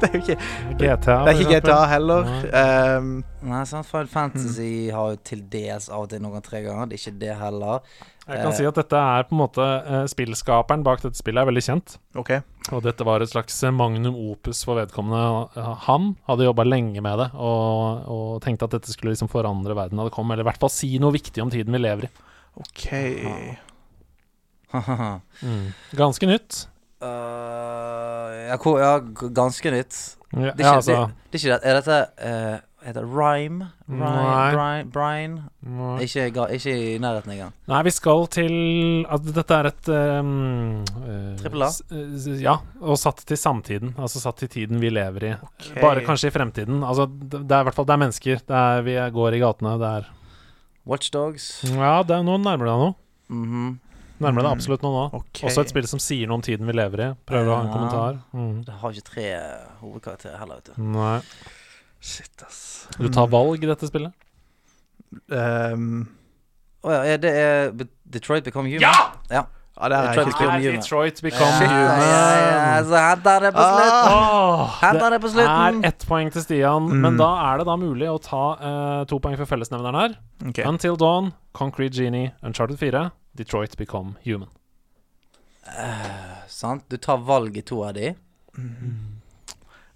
det er jo GTA, ikke Det er ikke for eksempel. GTA heller. Ehm, nei, sant? Final Fantasy har jo til dels av og til noen tre ganger. Det er ikke det heller. Jeg kan si at dette er på en måte eh, Spillskaperen bak dette spillet er veldig kjent. OK. Og dette var et slags eh, magnum opus for vedkommende. Han hadde jobba lenge med det og, og tenkte at dette skulle liksom forandre verden da det kom, eller i hvert fall si noe viktig om tiden vi lever i. OK. Uh, Mm. Ganske nytt. Eh, ja, ko- ja, g- ganske nytt. Ja, Det er ikke, altså det, det er, ikke det. er dette eh, Heter det Rhyme? Nei. Rhyme? Brine? Ikke, ga- ikke i nærheten engang. Nei, vi skal til at Dette er et um, eh, Trippel A? s- eh, ja, og satt til samtiden. Altså satt til tiden vi lever i. Ok. Bare kanskje i fremtiden. Altså, det det er i hvert fall Det er mennesker. Det er, vi går i gatene. Det er Watchdogs. Ja, det er, nå nærmer det deg noe. Mhm. Nærmer det absolutt noe nå. Mm. Ok. Også et spill som sier noe om tiden vi lever i. Prøver å ha en Ja. kommentar. Mm. Det har ikke tre hovedkarakterer heller, vet du. Nei. Shit, ass. Du tar valg i dette spillet? Ehm, Å ja, er det er Be- Detroit Become Human? Ja! ja. ja, det er Jeg tror ikke det Become Human. Detroit Become Ja, ja, ja, så henter det på slutten. Åh, Henter Ah! det på det er slutten. ett poeng til Stian, men da er det da mulig å ta eh, to poeng for fellesnevneren her. Ok. Until Dawn, Concrete Genie, Uncharted 4, Detroit Become Human. Sant? Du tar valg i to av de.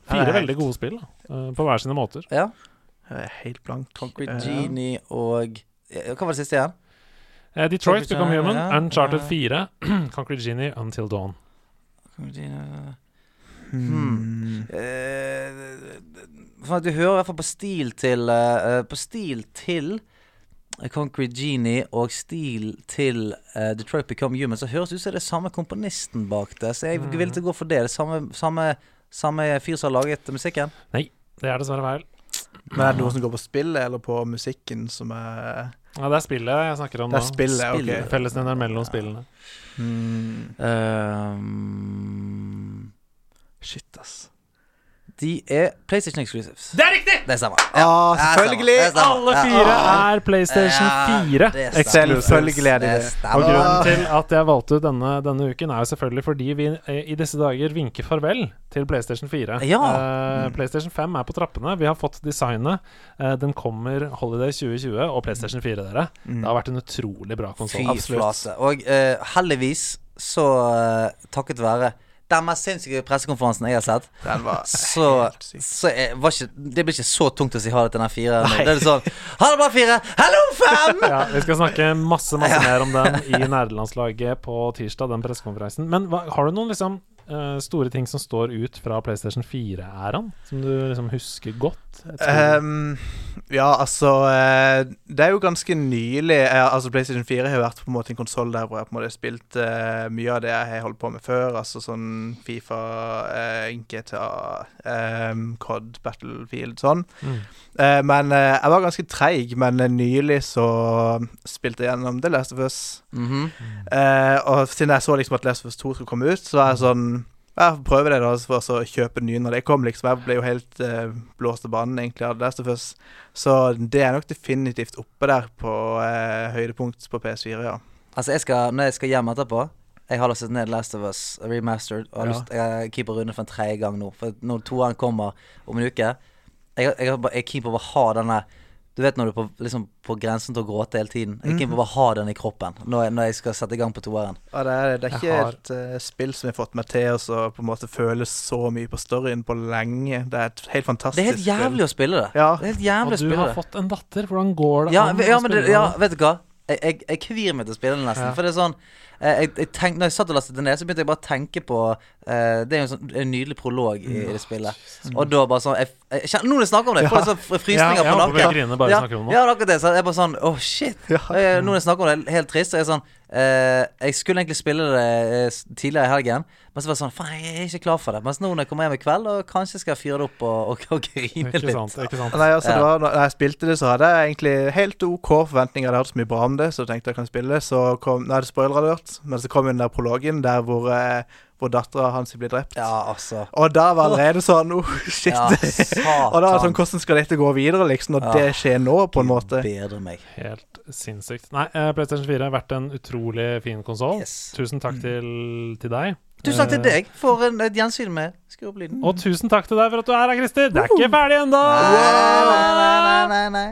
Fire Alright. veldig gode spill. da eh, på hver sine måter. Ja. Jeg er helt blank. Concrete Eh, Genie og eh, Hva var det siste igjen? Eh, Detroit, Concrete Become Genie, Human, ja, Uncharted ja. 4, Concrete Genie, Until Dawn. Concrete Genie, hmm. Eh, for at Du hører i hvert fall på stil til eh, eh, På stil til Concrete Genie og stil til eh, Detroit Become Human, så høres det ut som det er samme komponisten bak det. Så jeg er villig til å gå for det. Det er samme, samme, samme fyr som har laget musikken. Nei, det er dessverre feil. Men er det noe som går på spillet eller på musikken som er Ja, det er spillet jeg snakker om Det nå. er spillet, Spillet. OK. Hmm. Fellesnevneren mellom spillene. Ehm, Shit, ass. de er PlayStation Exclusives. Det er riktig! Det stemmer. Ja, Ah, selvfølgelig! Det stemmer. Alle fire er PlayStation Ja, 4. det stemmer. Selvfølgelig er de Det det. Og stemmer. grunnen til at jeg valgte ut denne, denne uken, er jo selvfølgelig fordi vi eh, i disse dager vinker farvel til PlayStation 4. Ja. Mm. Eh, PlayStation 5 er på trappene. Vi har fått designet. Eh, den kommer Holiday 2020 og PlayStation 4, dere. Det har vært en utrolig bra konsoll. Mm. Fy flate. Og eh, heldigvis så eh, takket være den mest sinnssyke pressekonferansen jeg har sett, Den var så, helt syk. så jeg, var ikke, det blir ikke så tungt å si ha det til den fire. nå. Det er sånn Ha det bra, fire! Hallo, fem! Ja, vi skal snakke masse masse mer om den i nerdelandslaget på tirsdag, den pressekonferansen. Men hva, har du noen liksom eh, store ting som står ut fra PlayStation 4-æraen, som du liksom husker godt? Jeg tror- Ehm, ja, altså eh, Det er jo ganske nylig eh, Altså PlayStation 4 har jo vært på en måte en konsoll der hvor jeg på en måte har spilt eh, mye av det jeg har holdt på med før. Altså sånn Fifa, eh, GTA, ehm, COD, Battlefield, sånn. Mm. Eh, men eh, jeg var ganske treig, men eh, nylig så spilte jeg gjennom The Last of Us. Mhm. Eh, og siden jeg så liksom at Last of Us 2 skulle komme ut, så var jeg sånn ja, får prøve det, da, for så kjøpe den nye når det kom. liksom Jeg ble jo helt eh, blåst av banen, egentlig, av Last of Us. Så det er nok definitivt oppe der på eh, høydepunkt på PS4, ja. Altså, jeg skal, når jeg skal hjem etterpå Jeg har lastet ned Last of Us Remastered. Og har Ja. lyst, jeg keeper runde for en tredje gang nå. For når toeren kommer om en uke Jeg, jeg, har bare- jeg keeper bare ha den der Du vet når du er på, liksom, på grensen til å gråte hele tiden. Jeg keeper bare ha den i kroppen når jeg, når jeg skal sette i gang på toeren. Ja, det, er, det er ikke Jeg har- et eh, spill som har fått meg til å så på en måte føle så mye på storyen på lenge. Det er et helt fantastisk Det er helt jævlig å spille det. Ja. Det er helt jævlig Og å du spille har det. fått en datter. Hvordan går det Ja, an? ve- å ja, men det, spille ja, den? vet du hva? Jeg, jeg, jeg kvir meg til å spille den nesten. Ja. For det er sånn eh, jeg, jeg tenk, Når jeg satt og lastet det ned, så begynte jeg bare å tenke på eh, Det er jo en, sånn, en nydelig prolog i, i det spillet. Og da bare sånn jeg, jeg, kjenner- Nå når jeg snakker om det, jeg får jeg sånn fr- Ja, frysninger jeg på håper vi nakken. griner bare vi ja, snakker om det. ja, det er akkurat det. Så jeg er bare sånn Åh, shit. Eh, Nå når jeg snakker om det, er det helt trist. Så er jeg sånn eh, Jeg skulle egentlig spille det eh, s- tidligere i helgen, men så var det sånn Faen, jeg er ikke klar for det. Mens nå når jeg kommer hjem i kveld, og kanskje skal jeg fyre det opp og, og, og grine Ikke litt. sant, ikke sant. Nei, Ja. altså, det var, når jeg spilte det, så hadde jeg egentlig helt OK forventninger. Jeg hadde hørt så mye bra om det, så tenkte jeg kan spille. Så kom, nå er det spoiler-alert, men så kom jo den der prologen der hvor, eh, hvor dattera hans blir drept. Ja, altså. Og da var allerede sånn oh, shit. Ja, satan. og da var det sånn, hvordan skal dette gå videre, liksom, når det skjer nå, på en måte? Bedre meg. Helt sinnssykt. Nei, eh, PlayStation 4 har vært en utrolig fin konsoll. Yes. Mm. Tusen takk til, til deg. Tusen takk til Eh, deg for en, et gjensyn med Skru opp lyden. Og tusen takk til deg for at du er her, Christer. Det er ikke ferdig ennå! Nei, nei, nei, nei.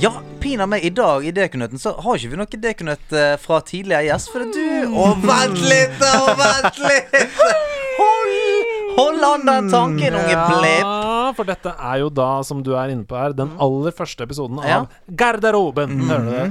Ja, pina meg, i dag i Dekunøtten så har ikke vi noe Dekunøtt eh, fra tidligere gjest, for det er du Å, vent litt, da! Vent litt! Hold, hold an den tanken, unge blipp. Ja, for dette er jo da, som du er inne på her, den aller første episoden Mm. Ja. Mm. av Garderoben. Hører du det?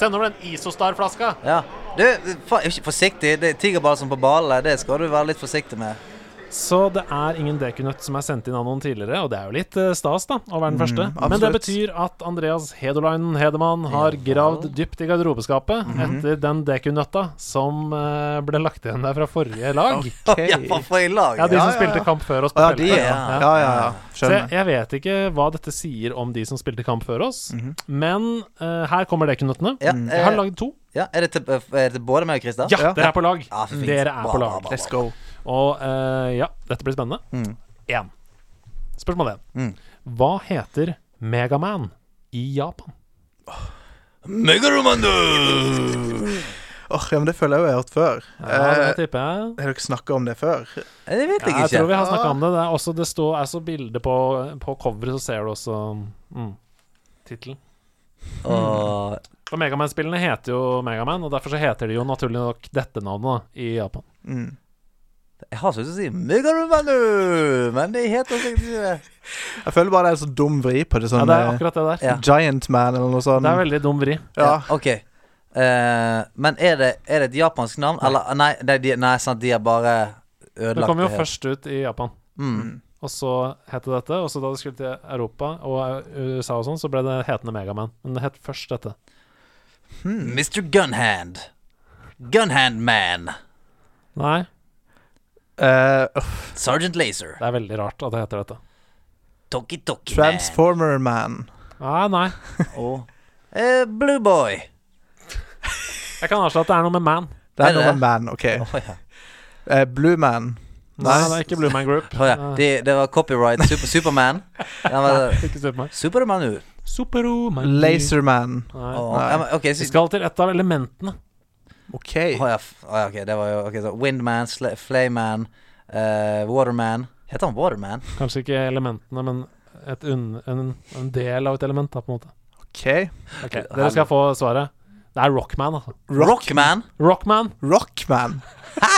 Send over den Isostar-flaska. Ja. Du, fa- ikke forsiktig. Det er tigerbalsam på ballene. Det skal du være litt forsiktig med. Så det er ingen Dekunøtt som er sendt inn av noen tidligere, og det er jo litt eh, stas da, å Mm, være den første. Men det absolutt. betyr at Andreas Hedolainen Hedemann har gravd dypt i garderobeskapet Mhm. etter den Dekunøtta som eh, ble lagt igjen der fra forrige lag. Ja, for, for i lag. Ja, de ja. som spilte kamp før oss på Ja, de, feltet. ja. Ja. Ja, ja, ja. Så jeg, Skjønner. jeg vet ikke hva dette sier om de som spilte kamp før oss, men eh, her kommer Dekunøttene. Mhm. Ja, Jeg har eh, lagd to. Ja, er det til, er det til både meg og Christer? Ja, dere er på lag. Ja, for fint. Dere er Bra, på bra, lag. bra, Let's go. Og eh, ja, dette blir spennende. Mm. Én. Spørsmål én. Hva heter Megaman i Japan? Åh, ja, men Det føler jeg jo jeg har hørt før. Ja, det Eh, tipper jeg. har dere snakka om det før? Det vet jeg Ja, jeg ikke. tror vi har snakka om det. Det er også det står er så bilde på, på coveret, så ser du også mm. tittelen. Og Og Megaman-spillene heter jo Megaman, og derfor så heter de jo naturlig nok dette navnet da, i Japan. jeg har så lyst til å si Megarumanu, men det heter sikkert ikke det. Jeg føler bare det er en så dum vri på det. Ja, Sånn, det er akkurat det der. eh, Ja. Giant Man eller noe sånt. Det er veldig dum vri. ja. Ja, ok. Eh, men er det, er det et japansk navn? Eller nei, nei, de, nei sant, de har bare ødelagt Det kom jo helt. Mm. først ut i Japan. Og så het det dette. Og så da det skulle til Europa og eh, USA og sånn, så ble det hetende Megaman. Men det het først dette. Mr. Gunhand. Gunhand Man. Nei, Eh, uff, Sergeant Laser. det er veldig rart at det heter dette. Toki Toki Man. Transformer Man. Nei, nei. Eh, Blue Boy. Jeg kan avslå at det er noe med Man. Det Er er noe det? med Man, OK. Å ja. Eh, Blue Man. Nei, det er ikke Blue Man Group. Å, ja. Det, det var copyright super, Superman. Den var, Ikke Superman. Superman nå. Superman. Laser Man. Nei. Å, ja, men, OK, Vi så, skal til et av elementene. OK. å, ja, f- å, ja, ok, det var jo ok, så Windman, Sla- Flayman, eh, Waterman Heter han Waterman? Kanskje ikke elementene, men et unn- en, en del av et element, da, på en måte. ok Ok, Dere skal få svaret. Det er Rockman, altså. Rockman? Rockman. Rockman.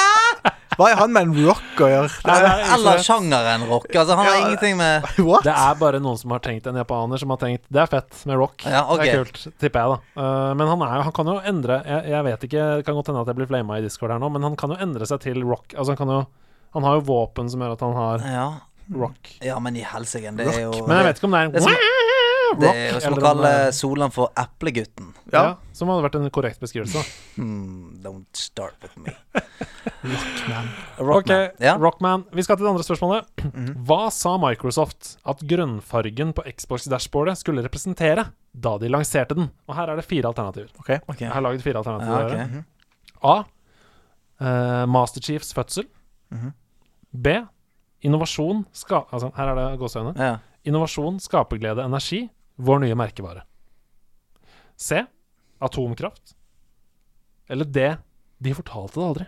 Hva er han med en rock å gjøre? Det Nei, er, det er- Eller sjangeren rock? Altså, han har Ja. ingenting med what? Det er bare noen som har tenkt En japaner som har tenkt Det er fett med rock Ja, ok. Det er kult, tipper jeg da Eh, Men han, er, jo- han kan jo endre jeg, jeg vet ikke, det kan godt hende at jeg blir flama i Discord her nå Men han kan jo endre seg til rock Altså han kan jo Han har jo våpen som gjør at han har Ja, rock ja men i helsike, det er jo Men jeg vet ikke om det er Det er som- rock Det er jo som å eller om kalle det er- Solan for Eplegutten. ja. Ja. som hadde vært en korrekt beskrivelse da. Hmm, don't start with me. Ok, Ja. Mhm. Rockman Vi skal til det andre spørsmålet Hva sa Microsoft at grønnfargen på Xbox-dashbordet skulle representere Da de lanserte den Og her er det fire alternativer Ok. Jeg har laget fire alternativer Ja, ok. A. Eh, Master Chiefs fødsel. Mhm. B. Innovasjon ska altså, Her er det gåsehøyne. Ja. Innovasjon, skaperglede, energi. Vår nye merkevare. C. Atomkraft. Eller D. De fortalte det aldri.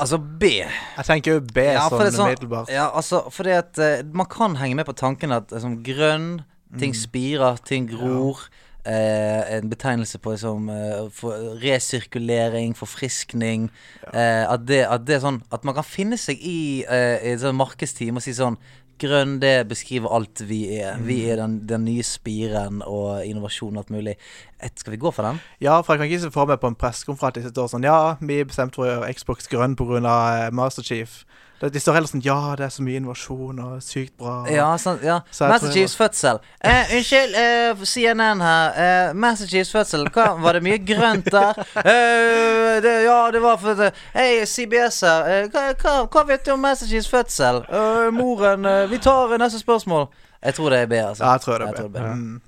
Altså B. Jeg tenker jo B Ja, for det sånn er sånn umiddelbart. ja, altså, Fordi at eh, man kan henge med på tanken at eh, som grønn, ting Mm. spirer, ting gror. Eh, en betegnelse på liksom, eh, for resirkulering, forfriskning. Eh, at, det, at det er sånn At man kan finne seg i eh, i et sånt markedsteam og si sånn Grønn, det beskriver alt vi er. Vi Mm. er den, den nye spiren og innovasjon og alt mulig. Eh, Skal vi gå for den? Ja, for jeg kan ikke se for meg på en pressekonferanse de står sånn Ja, vi bestemte for å gjøre Xbox grønn pga. eh, Master Chief. De de står heller sånn Ja, det er så mye innovasjon og sykt bra. Ja, sant, ja. Så jeg tror jeg Massachusetts fødsel. Eh, unnskyld, eh, CNN her. Eh, Massachusetts fødsel, hva, var det mye grønt der? Eh, det, ja, det var for eh, det. Hei, CBS her. Eh, hva, hva, hva vet du om Massachusetts fødsel? Eh, moren eh, Vi tar eh, neste spørsmål. Jeg tror det er B, altså. Ja, jeg tror det er B. B. Mm.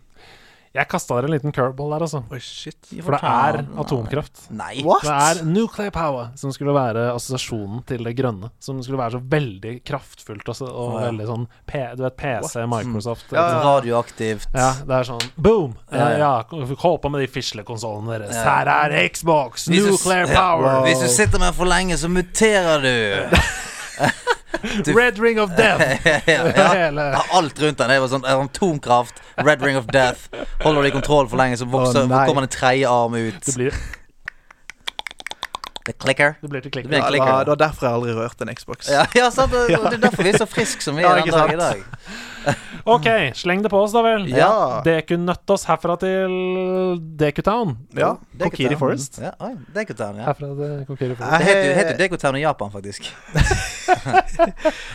Jeg kasta dere en liten curveball der, altså. Oi, shit. For det er atomkraft. Nei. What? Det er nuclear power som skulle være assosiasjonen til det grønne. Som skulle være så veldig kraftfullt og, så, og Ja. veldig sånn P, Du vet PC, Microsoft liksom. Ja, ja. Radioaktivt. Ja, det er sånn boom! Ja, Ja, ja. Hold på med de fislekonsollene deres. Her er Xbox! Hvis du- Nuclear ja, power! Hvis du sitter med den for lenge, så muterer du. Red ring of death! ja, Hele. Ja, alt rundt den. Det var sånn atomkraft, Red Ring of Death. Holder du i kontroll for lenge, så vokser, Å, nei. kommer den tredje arm ut. Det blir, The clicker. det blir til Det klikker. blir en Ja, det klikker. var, det var derfor jeg aldri rørte en Xbox. Ja, ja, sant? Det, det er derfor vi er så friske som vi Ja, er den ikke dag i sant? dag. OK, sleng det på oss, da vel. Ja. Dekunøtt oss herfra til Dekutown. Ja. Kokiri Forest. Ja, oi, Dekotown, ja. Herfra til Kokiri Forest. Det Jeg heter jo- heter jo har- Dekotown i Japan, faktisk.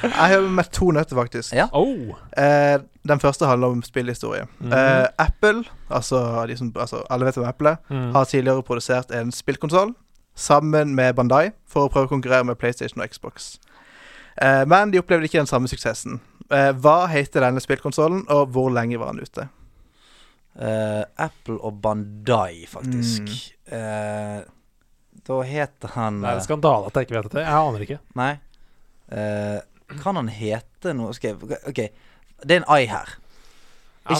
jeg har møtt to nøtter, faktisk. Ja. Oh, Eh, den første handler om spillhistorie. eh, Apple, altså, de som, altså alle vet om Apple, Mm. Mhm. har tidligere produsert en spillkonsoll sammen med Bandai for å prøve å konkurrere med PlayStation og Xbox. Eh, men de opplevde ikke den samme suksessen. Eh, hva heter denne spillkonsollen, og hvor lenge var den ute? Eh, Apple og Bandai, faktisk. Eh, da heter han det er en eh, skandale at jeg ikke vet dette. Jeg aner ikke. Nei. Eh, kan han hete noe Skal jeg OK. Det er en I her. Ikke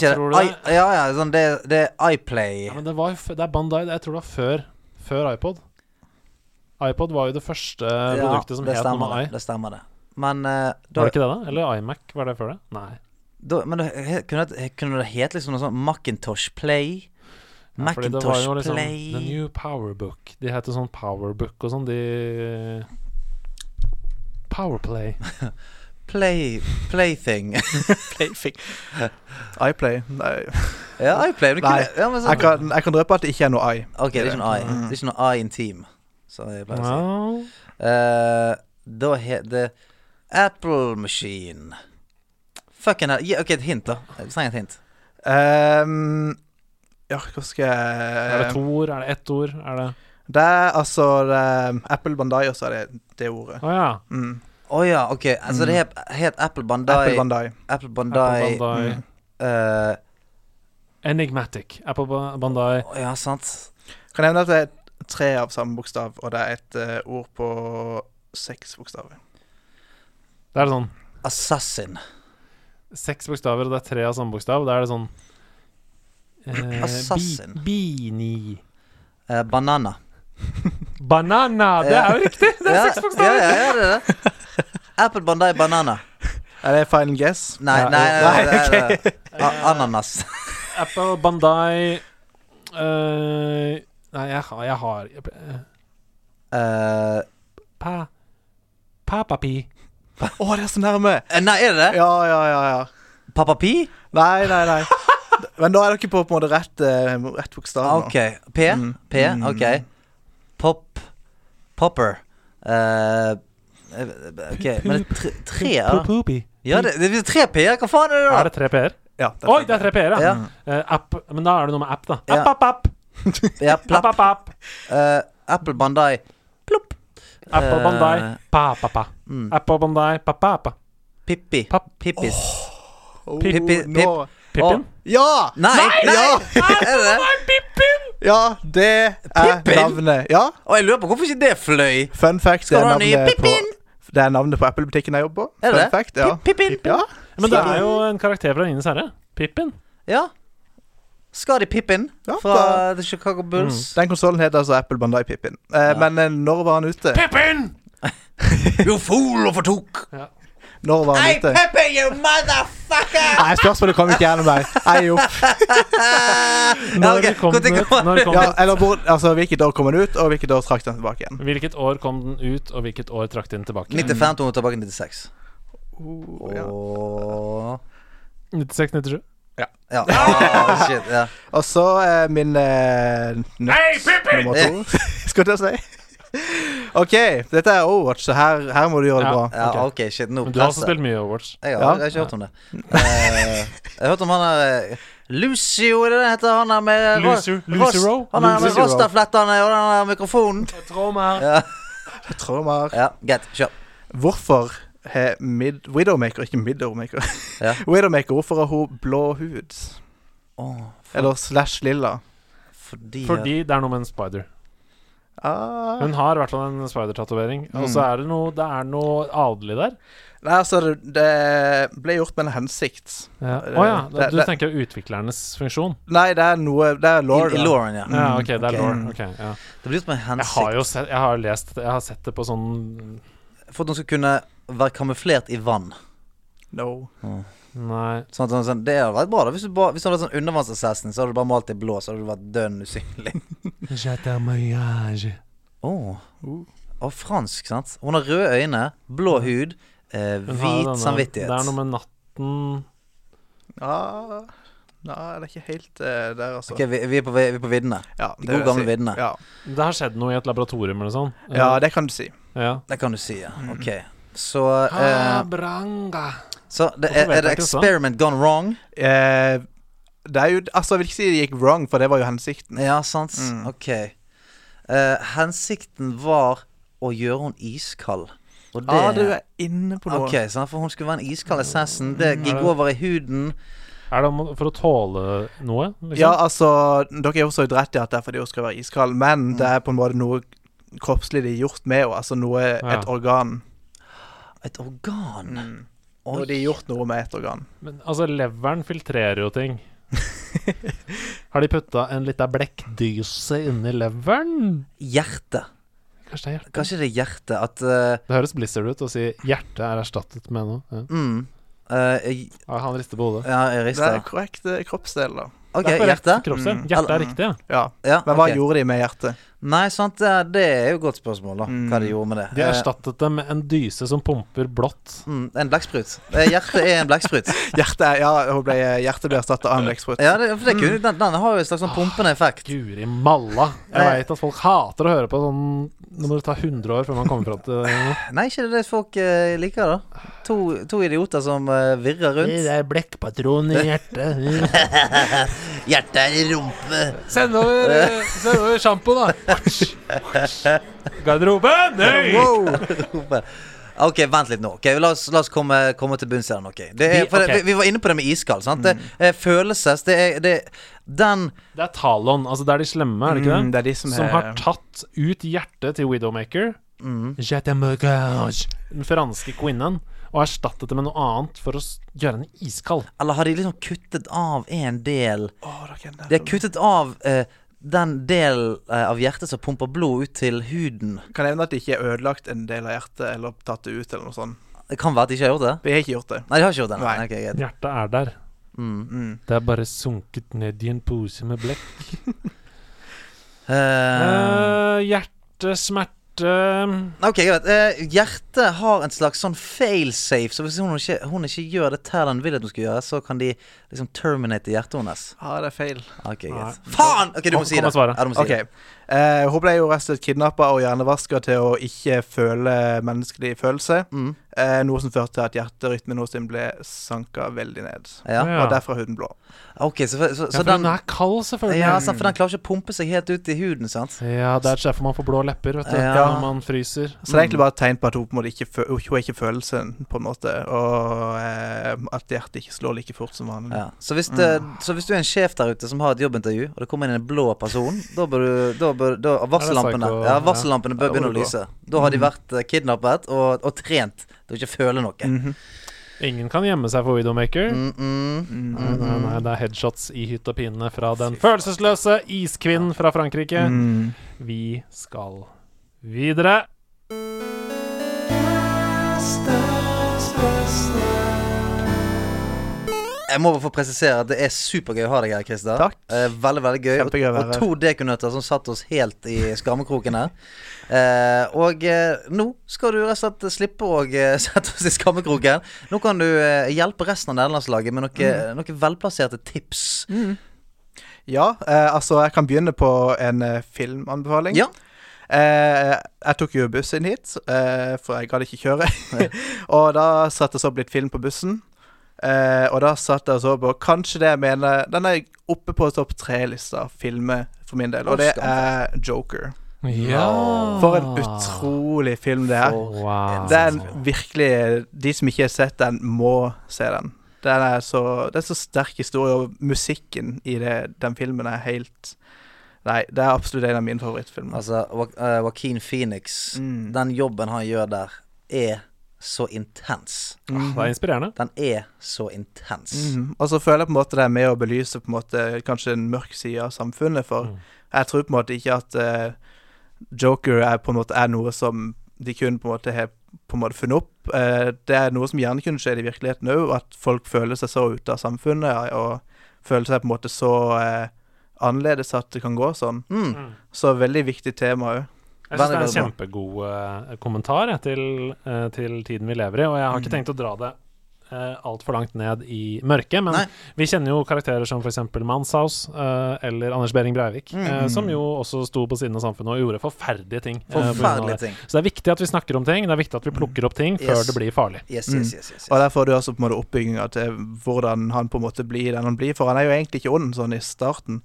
Jeg det? tror I, det, ja, ja, sånn, det, det er iPlay. ja, men det, var, jo f- det er Bandai. Jeg tror det var før, før iPod. iPod var jo det første produktet som det het noe stemmer med det. I. det stemmer det. Men eh, da Var det ikke det, da? Eller iMac, var det før det? Nei. Da, men det he- kunne det, kunne det hete liksom noe sånn Macintosh Play? Fordi det Macintosh var jo liksom Play The New Powerbook. De heter sånn Powerbook og sånn, de Powerplay. Play Plaything. Plaything. iPlay. Nei. ja, iPlay. Men Nei, kunne, ja, men Jeg sånn, kan, jeg kan drøpe at det ikke er noe I. ok, det er ikke noe I. Det er ikke noe I in team, som jeg pleier å si. Ja. Eh, da heter det Apple Machine. Fucking hell. Gi- ok, et hint, da. Jeg trenger et hint. Ehm, ja, hva skal Er det jeg to ord? Er det ett ord? Er det Det er altså det, Apple Bandai, og så er det det ordet. Å ja. Mm. Å ja, ok. Altså det het, het Apple Bandai Apple Bandai. Apple Apple Bandai, Bandai. eh, Enigmatic. Apple Ba- Bandai. å Ja, sant. Kan jeg nevne at det er tre av samme bokstav, og det er et eh, ord på seks bokstaver. Det er sånn Assassin. seks bokstaver, og det er tre av samme bokstav. Da er det sånn eh, Assassin. bi- Beanie. Eh, banana. Banana! Det er jo riktig! Det er Ja, seks bokstaver! Ja, ja, ja, det er det. Apple Bandai Banana. Er det final guess? Nei, Ja, nei, nei, jo. nei, nei, nei, A- Ananas. Apple Bandai eh, Nei, jeg har, jeg har eh, Eh, Pa... Papapi. Å, det er så nærme! eh, nei, er det det? Ja, ja, ja. ja. Papa Pi? Nei, nei, nei. Men da er dere på på en måte rett, eh, rett bokstav nå. Ok. P? Mm. P? Ok. Pop Popper. Eh, ok, men det er tre, tre ja. Popopi. Ja, det, det er tre P-er. Hva faen er det, da? Er det tre p-er? Ja, det Oi, det er tre p-er, ja. Ja. Eh, app, men da er det noe med app, da. Ja. App, app, app. Ja, plapp. App, app, app. Eh, Apple Bandai. Plopp. Apple Eh, Bandai, pa, pa, pa. Apple Bandai, pa, pa, pa. Pippi. Papp. Pippis. Oh, Pip, pip, nå. pip. Pippin? Ja! Nei! nei! Ja, Er det det? ja, det er Pippin? navnet. Ja, Og jeg lurer på hvorfor ikke det fløy. fun fact. Det Skal du er ha ny navnet på, Pippin? det er navnet på Apple-butikken jeg jobber på. Er det Fun det? fact, ja. Pip, Pippin. Ja. Men det er jo en karakter fra Ringenes herre. Pippin. Ja. Skadi Pippin Ja, fra The Chicago Mm. Bulls. Den konsollen heter altså Apple Bandai Pippin. Eh, Men eh, når var han ute? Pippin! You fool og fortok! Når var han Hey, ute? Pippin, you motherfucker! Nei, spørsmålet kom ikke gjennom meg. Nei, jo. Ja, Når ok, kom den når ut? Når kom Ja, den? eller hvor, altså, hvilket år kom han ut, og hvilket år trakk han tilbake igjen? Hvilket år kom den ut, og hvilket år trakk den tilbake? 95 to tilbake i 96. Oh, ja. Åh 96-97. Ja. Ah, shit. Ja. Og så eh, min eh, nøtt nummer to, skal jeg til å si. OK, dette er Overwatch, så her, her må du gjøre det Ja. bra. ja, OK, shit. Nå Men du har også presser. spilt mye Overwatch. Jeg har, jeg har ikke hørt om det. Eh, jeg har hørt om han der eh, Lucio, er det det heter? Han der med ro- Lucio- ros- Lucero? Han der med Lucero. rastaflettene og den der mikrofonen. Ja, Jeg tror vi har- ja greit. Kjør. Hvorfor har mid Widowmaker Ikke Midowmaker. Ja. Widowmaker, hvorfor har hun blå hud? Eller slash lilla? Fordi, eh, Fordi det er noe med en spider. Ah. Hun har i hvert fall en spider-tatovering. Og så er det noe, det er noe adelig der. Nei, altså, det- det ble gjort med en hensikt. Å ja. Å ja. Det- Du det- tenker utviklernes funksjon? Nei, det er noe Det er law. I, I Lauren, ja. Ja, OK, det Mm, ok. er law. Ok, ja. Det blir gjort med Jeg har hensikt. jo sett, jeg har lest Jeg har sett det på sånn For at hun skal kunne være kamuflert i vann. No. Nei. Sånn, at hun sånn, det hadde vært bra da Hvis du, bare, hvis du hadde vært sånn undervannsassassin, så hadde du bare malt i blå, så hadde du vært dønn usynlig. Åh Og fransk, sant? Hun har røde øyne, blå hud, eh, Hun har hvit denne- samvittighet. Det er noe med natten Ah, nei, det er ikke helt eh, der, altså. Ok, vi, vi, er på, vi er på viddene. Ja, de det vil gode gamle jeg si. viddene. Ja. Det har skjedd noe i et laboratorium eller noe sånt. ja, det kan du si. ja. Det kan du si, ja. Mm. Ok. Så, eh, så det, Hvorfor vet er, er det jeg ikke altså? så? experiment gone wrong? Eh, det er jo Altså, jeg vil ikke si det gikk wrong, for det var jo hensikten. Ja, sant? Mm. Ok. Eh, hensikten var å gjøre henne iskald. Og det Ja, ah, du er inne på noe. Ok, sant? For hun skulle være en iskald assassin. Det Mm, gikk over i huden. Er det om- for å tåle noe? Liksom? Ja, altså, dere er jo så rett i at det er fordi hun skal være iskald, Mm. men det er på en måte noe kroppslig de har gjort med henne, altså noe et organ. Et organ. Oi. Og de har gjort noe med et organ. Men altså, leveren filtrerer jo ting. har de putta en lita blekkdyse inni leveren? Hjerte. Kanskje det er hjertet? Kanskje det er hjertet at eh, Det høres blizzard ut å si 'hjerte er erstattet med noe'. Ja. mm, Eh, jeg- Ja, han rister på hodet. ja, jeg Det er rister. korrekt eh, kroppsdel, da. OK, Derfor er hjerte? Kroppsdel. Mm. Hjertet er riktig, ja. Ja. Ja, Men hva ok. gjorde de med hjertet? Nei, sant, det er- det er jo et godt spørsmål, da. Hva de gjorde med det. De Eh, erstattet Mm. det med en dyse som pumper blått. mm, en blekksprut. Eh, Hjertet er en blekksprut. Hjertet ja, hun ble, hjertet ble erstatta av en blekksprut. Ja, det, for det Mm. kunne, den, den har jo en slags Ah, sånn pumpende effekt. Guri malla. Jeg Nei. veit at folk hater å høre på sånn Nå må det ta 100 år før man kommer fram til det. Nei, ikke det det folk eh, liker, da. To, to idioter som eh, virrer rundt. er blekkpatron i hjertet. Hjertet er i rumpe. Send over, eh, send over sjampo, da. Garderoben! Nei! Wow! Ok, vent litt nå. Ok, la oss, la oss komme, komme til bunns i den. ok det er, Vi- for ok. Mm. det, vi, vi var inne på det med iskald. Sant? Det, eh, følelses det er, det, Den Det er Talon. Altså, det er de slemme, er det ikke det? Mm, det er de som som, er- har tatt ut hjertet til Widowmaker. Mm. Jette Mergage, Den franske kvinnen. Og erstattet det med noe annet for å s- gjøre henne iskald. Eller har de liksom kuttet av en del Å, dere er De nerd. har kuttet av eh, den delen eh, av hjertet som pumper blod ut til huden. Kan nevne at de ikke har ødelagt en del av hjertet eller tatt det ut eller noe sånt. Det kan være at de ikke har gjort det. Vi har ikke gjort det. Nei, de har ikke gjort det. nei. Nei. Mm. Ok, greit. Hjertet er der. Det er bare sunket ned i en pose med blekk. Eh, Uh, hjertesmerte Ok, greit. Eh, hjertet har en slags sånn failsafe, så hvis hun ikke, hun ikke gjør det Terland vil at hun skal gjøre, så kan de liksom terminate hjertet hennes. Ja, det er feil. Ok, greit. Faen! Ok, du Kom- må si kom det. og svare. Ja, du må si OK. Eh, hun ble jo arrestet, kidnappa og hjernevaska til å ikke føle menneskelig følelse. Eh, noe som førte til at hjerterytmen hos henne ble sanka veldig ned. det. Ja. Ja. Og derfor er huden blå. Ok, så, Ja, så, så for den den er kald, selvfølgelig. Ja, sant, for den klarer ikke å pumpe seg helt ut i huden, sant? Ja, det er derfor man får blå lepper, vet du. Ja. Når man fryser. Så det er egentlig bare et tegn på at hun på en måte ikke, fø hun ikke følelsen, på en måte. Og eh, at hjertet ikke slår like fort som vanlig. Ja. Så, hvis det, så hvis du er en sjef der ute som har et jobbintervju, og det kommer inn en blå person, da bør du da bør, da, Varsellampene psycho, ja, ja. varsellampene bør Ja, begynne å det går. lyse. Da Mm. har de vært eh, kidnappet og, og trent til å ikke føle noe. Ingen kan gjemme seg for Widowmaker. Nei, nei, nei, det er headshots i hytt og pine fra den følelsesløse iskvinnen fra Frankrike. Vi skal videre. Jeg må bare få presisere at det er supergøy å ha deg her, Christer. Takk. Eh, veldig, veldig gøy. Og, Kjempegøy å være og to dekunøtter som satte oss helt i skammekroken her. Eh, og eh, nå skal du rett og slett slippe å eh, sette oss i skammekroken. Nå kan du eh, hjelpe resten av nederlandslaget med noen Mm. noe velplasserte tips. Ja, eh, altså jeg kan begynne på en eh, filmanbefaling. Ja. Eh, jeg tok jo bussen hit, eh, for jeg gadd ikke kjøre. og da satte jeg så opp litt film på bussen. Eh, og da satt jeg og så på Kanskje det jeg mener Den er oppe på topp tre-lista filmer for min del, og det er Joker. Ja. For en utrolig film det er. Wow. Det er en virkelig De som ikke har sett den, må se den. Den er så, det er så sterk historie, og musikken i det, den filmen er helt Nei, det er absolutt en av mine favorittfilmer. Altså, Wa- eh, Joaquin Phoenix, Altså, Mm. den jobben han gjør der, er så intens. Mm. Det Ah, er inspirerende. Den er så intens. Mhm. Og så føler jeg på en måte det er med å belyse på en måte kanskje en mørk side av samfunnet, for jeg tror på en måte ikke at eh, Joker er på en måte er noe som de kun på en måte har på en måte funnet opp. Eh, det er noe som gjerne kunne skjedd i virkeligheten òg, at folk føler seg så ute av samfunnet og føler seg på en måte så eh, annerledes at det kan gå sånn. Mm. Så veldig viktig tema òg. Jeg synes det er en Veldig, kjempegod eh, kommentar jeg, til, eh, til tiden vi lever i, og jeg har Mm. ikke tenkt å dra det uh, altfor langt ned i mørket, men Nei. vi kjenner jo karakterer som f.eks. Manshaus eh, eller Anders Behring Breivik, Mm. eh, som jo også sto på siden av samfunnet og gjorde forferdelige ting. eh, på grunn av Forferdelige det. ting. Så det er viktig at vi snakker om ting, det er viktig at vi plukker opp ting før Yes. det blir farlig. Yes, yes, yes, yes, yes. Og der får du også på en måte oppbygginga til hvordan han på en måte blir den han blir, for han er jo egentlig ikke ond sånn i starten.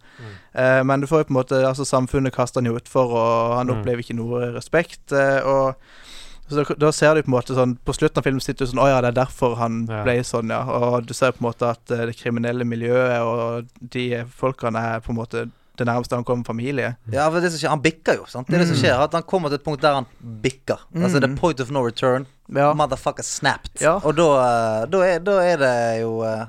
Eh, men du får jo på en måte altså Samfunnet kaster han jo utfor, og han opplever ikke noe respekt. eh, og så da, da ser du på en måte sånn På slutten av filmen sitter du sånn Å ja, det er derfor han Ja. ble sånn, ja. Og du ser på en måte at eh, det kriminelle miljøet og de folkene er på en måte det nærmeste han kommer familie. Ja, for det som skjer, Han bikker jo. sant? Det er det Mm. som skjer, at Han kommer til et punkt der han bikker. Altså the point of no return. Ja. Motherfucker snapped. Ja. Og da, eh, da, er, da er det jo eh,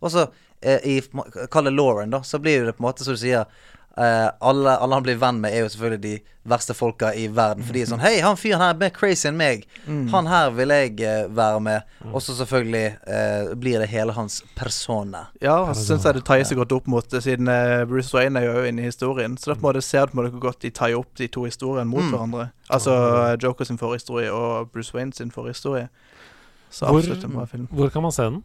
Også eh, i Kalle Lauren, da, så blir det på en måte som du sier Eh, alle, alle han blir venn med, er jo selvfølgelig de verste folka i verden. For de er sånn Hei, han fyren her er mer crazy enn meg. Mm. Han her vil jeg eh, være med. Og så selvfølgelig eh, blir det hele hans persona. Ja, og så syns jeg det ties så godt opp mot det, siden eh, Bruce Wayne er jo inne i historien. Så da på en måte ser du på en måte hvor godt de tar opp de to historiene mot hverandre. Altså eh, Joker sin forhistorie og Bruce Wayne sin forhistorie. Så Hvor- absolutt en bra film. Hvor kan man se den?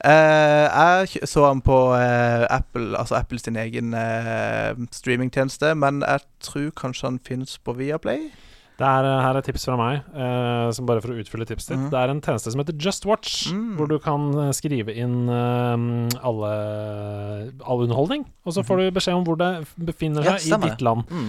Eh, jeg kj- så han på eh, Apple, altså Apple sin egen eh, streamingtjeneste, men jeg tror kanskje han finnes på Viaplay. Det er, eh, her er tips fra meg, eh, som bare for å utfylle tipset ditt. Mm. Det er en tjeneste som heter Just Watch, hvor du kan eh, skrive inn eh, alle, all underholdning, og så får du beskjed om hvor det f- befinner Mhm. Ja, seg i stemmer det. Mm. ditt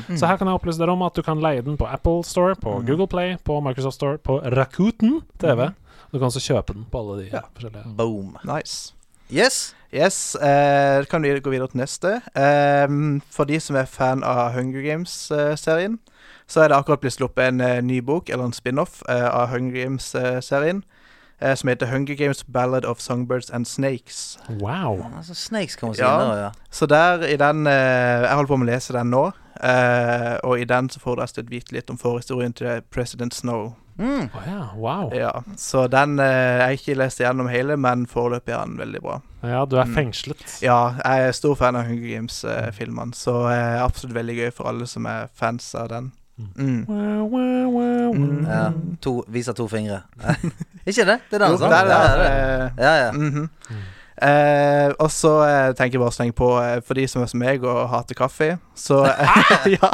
land. Så her kan jeg opplyse dere om at du kan leie den på Apple Store, på Google Play, på Microsoft Store, på Rakuten TV. Mm. Du kan også kjøpe den på alle de eh, forskjellige Boom. Nice. Yes. Yes, eh, kan vi gå videre til neste. Ehm, for de som er fan av Hunger Games-serien, så er det akkurat blitt sluppet en eh, ny bok, eller en spin-off, eh, av Hunger Games-serien, eh, som heter Hunger Games Ballad of Songbirds and Snakes. Wow. Altså, Snakes kommer seg Ja. inn der, ja. Så der, i den eh, Jeg holder på med å lese den nå, eh, og i den så får du rett og slett vite litt om forhistorien til President Snow. Å ja, wow. Ja, Så den eh, Jeg har ikke lest gjennom hele, men foreløpig er den veldig bra. Ja, du er Mm. fengslet. Ja, jeg er stor fan av Hunger Games-filmene, så eh, absolutt veldig gøy for alle som er fans av den. Mm. Wow, wow, wow, wow. ja. To, viser to fingre. ikke det? Det er den, Jo, sant? der, Ja, der, det er det. eh, Ja, ja. mhm. Eh, og så eh, tenker jeg bare å slenge på, eh, for de som er som meg og hater kaffe, så ja,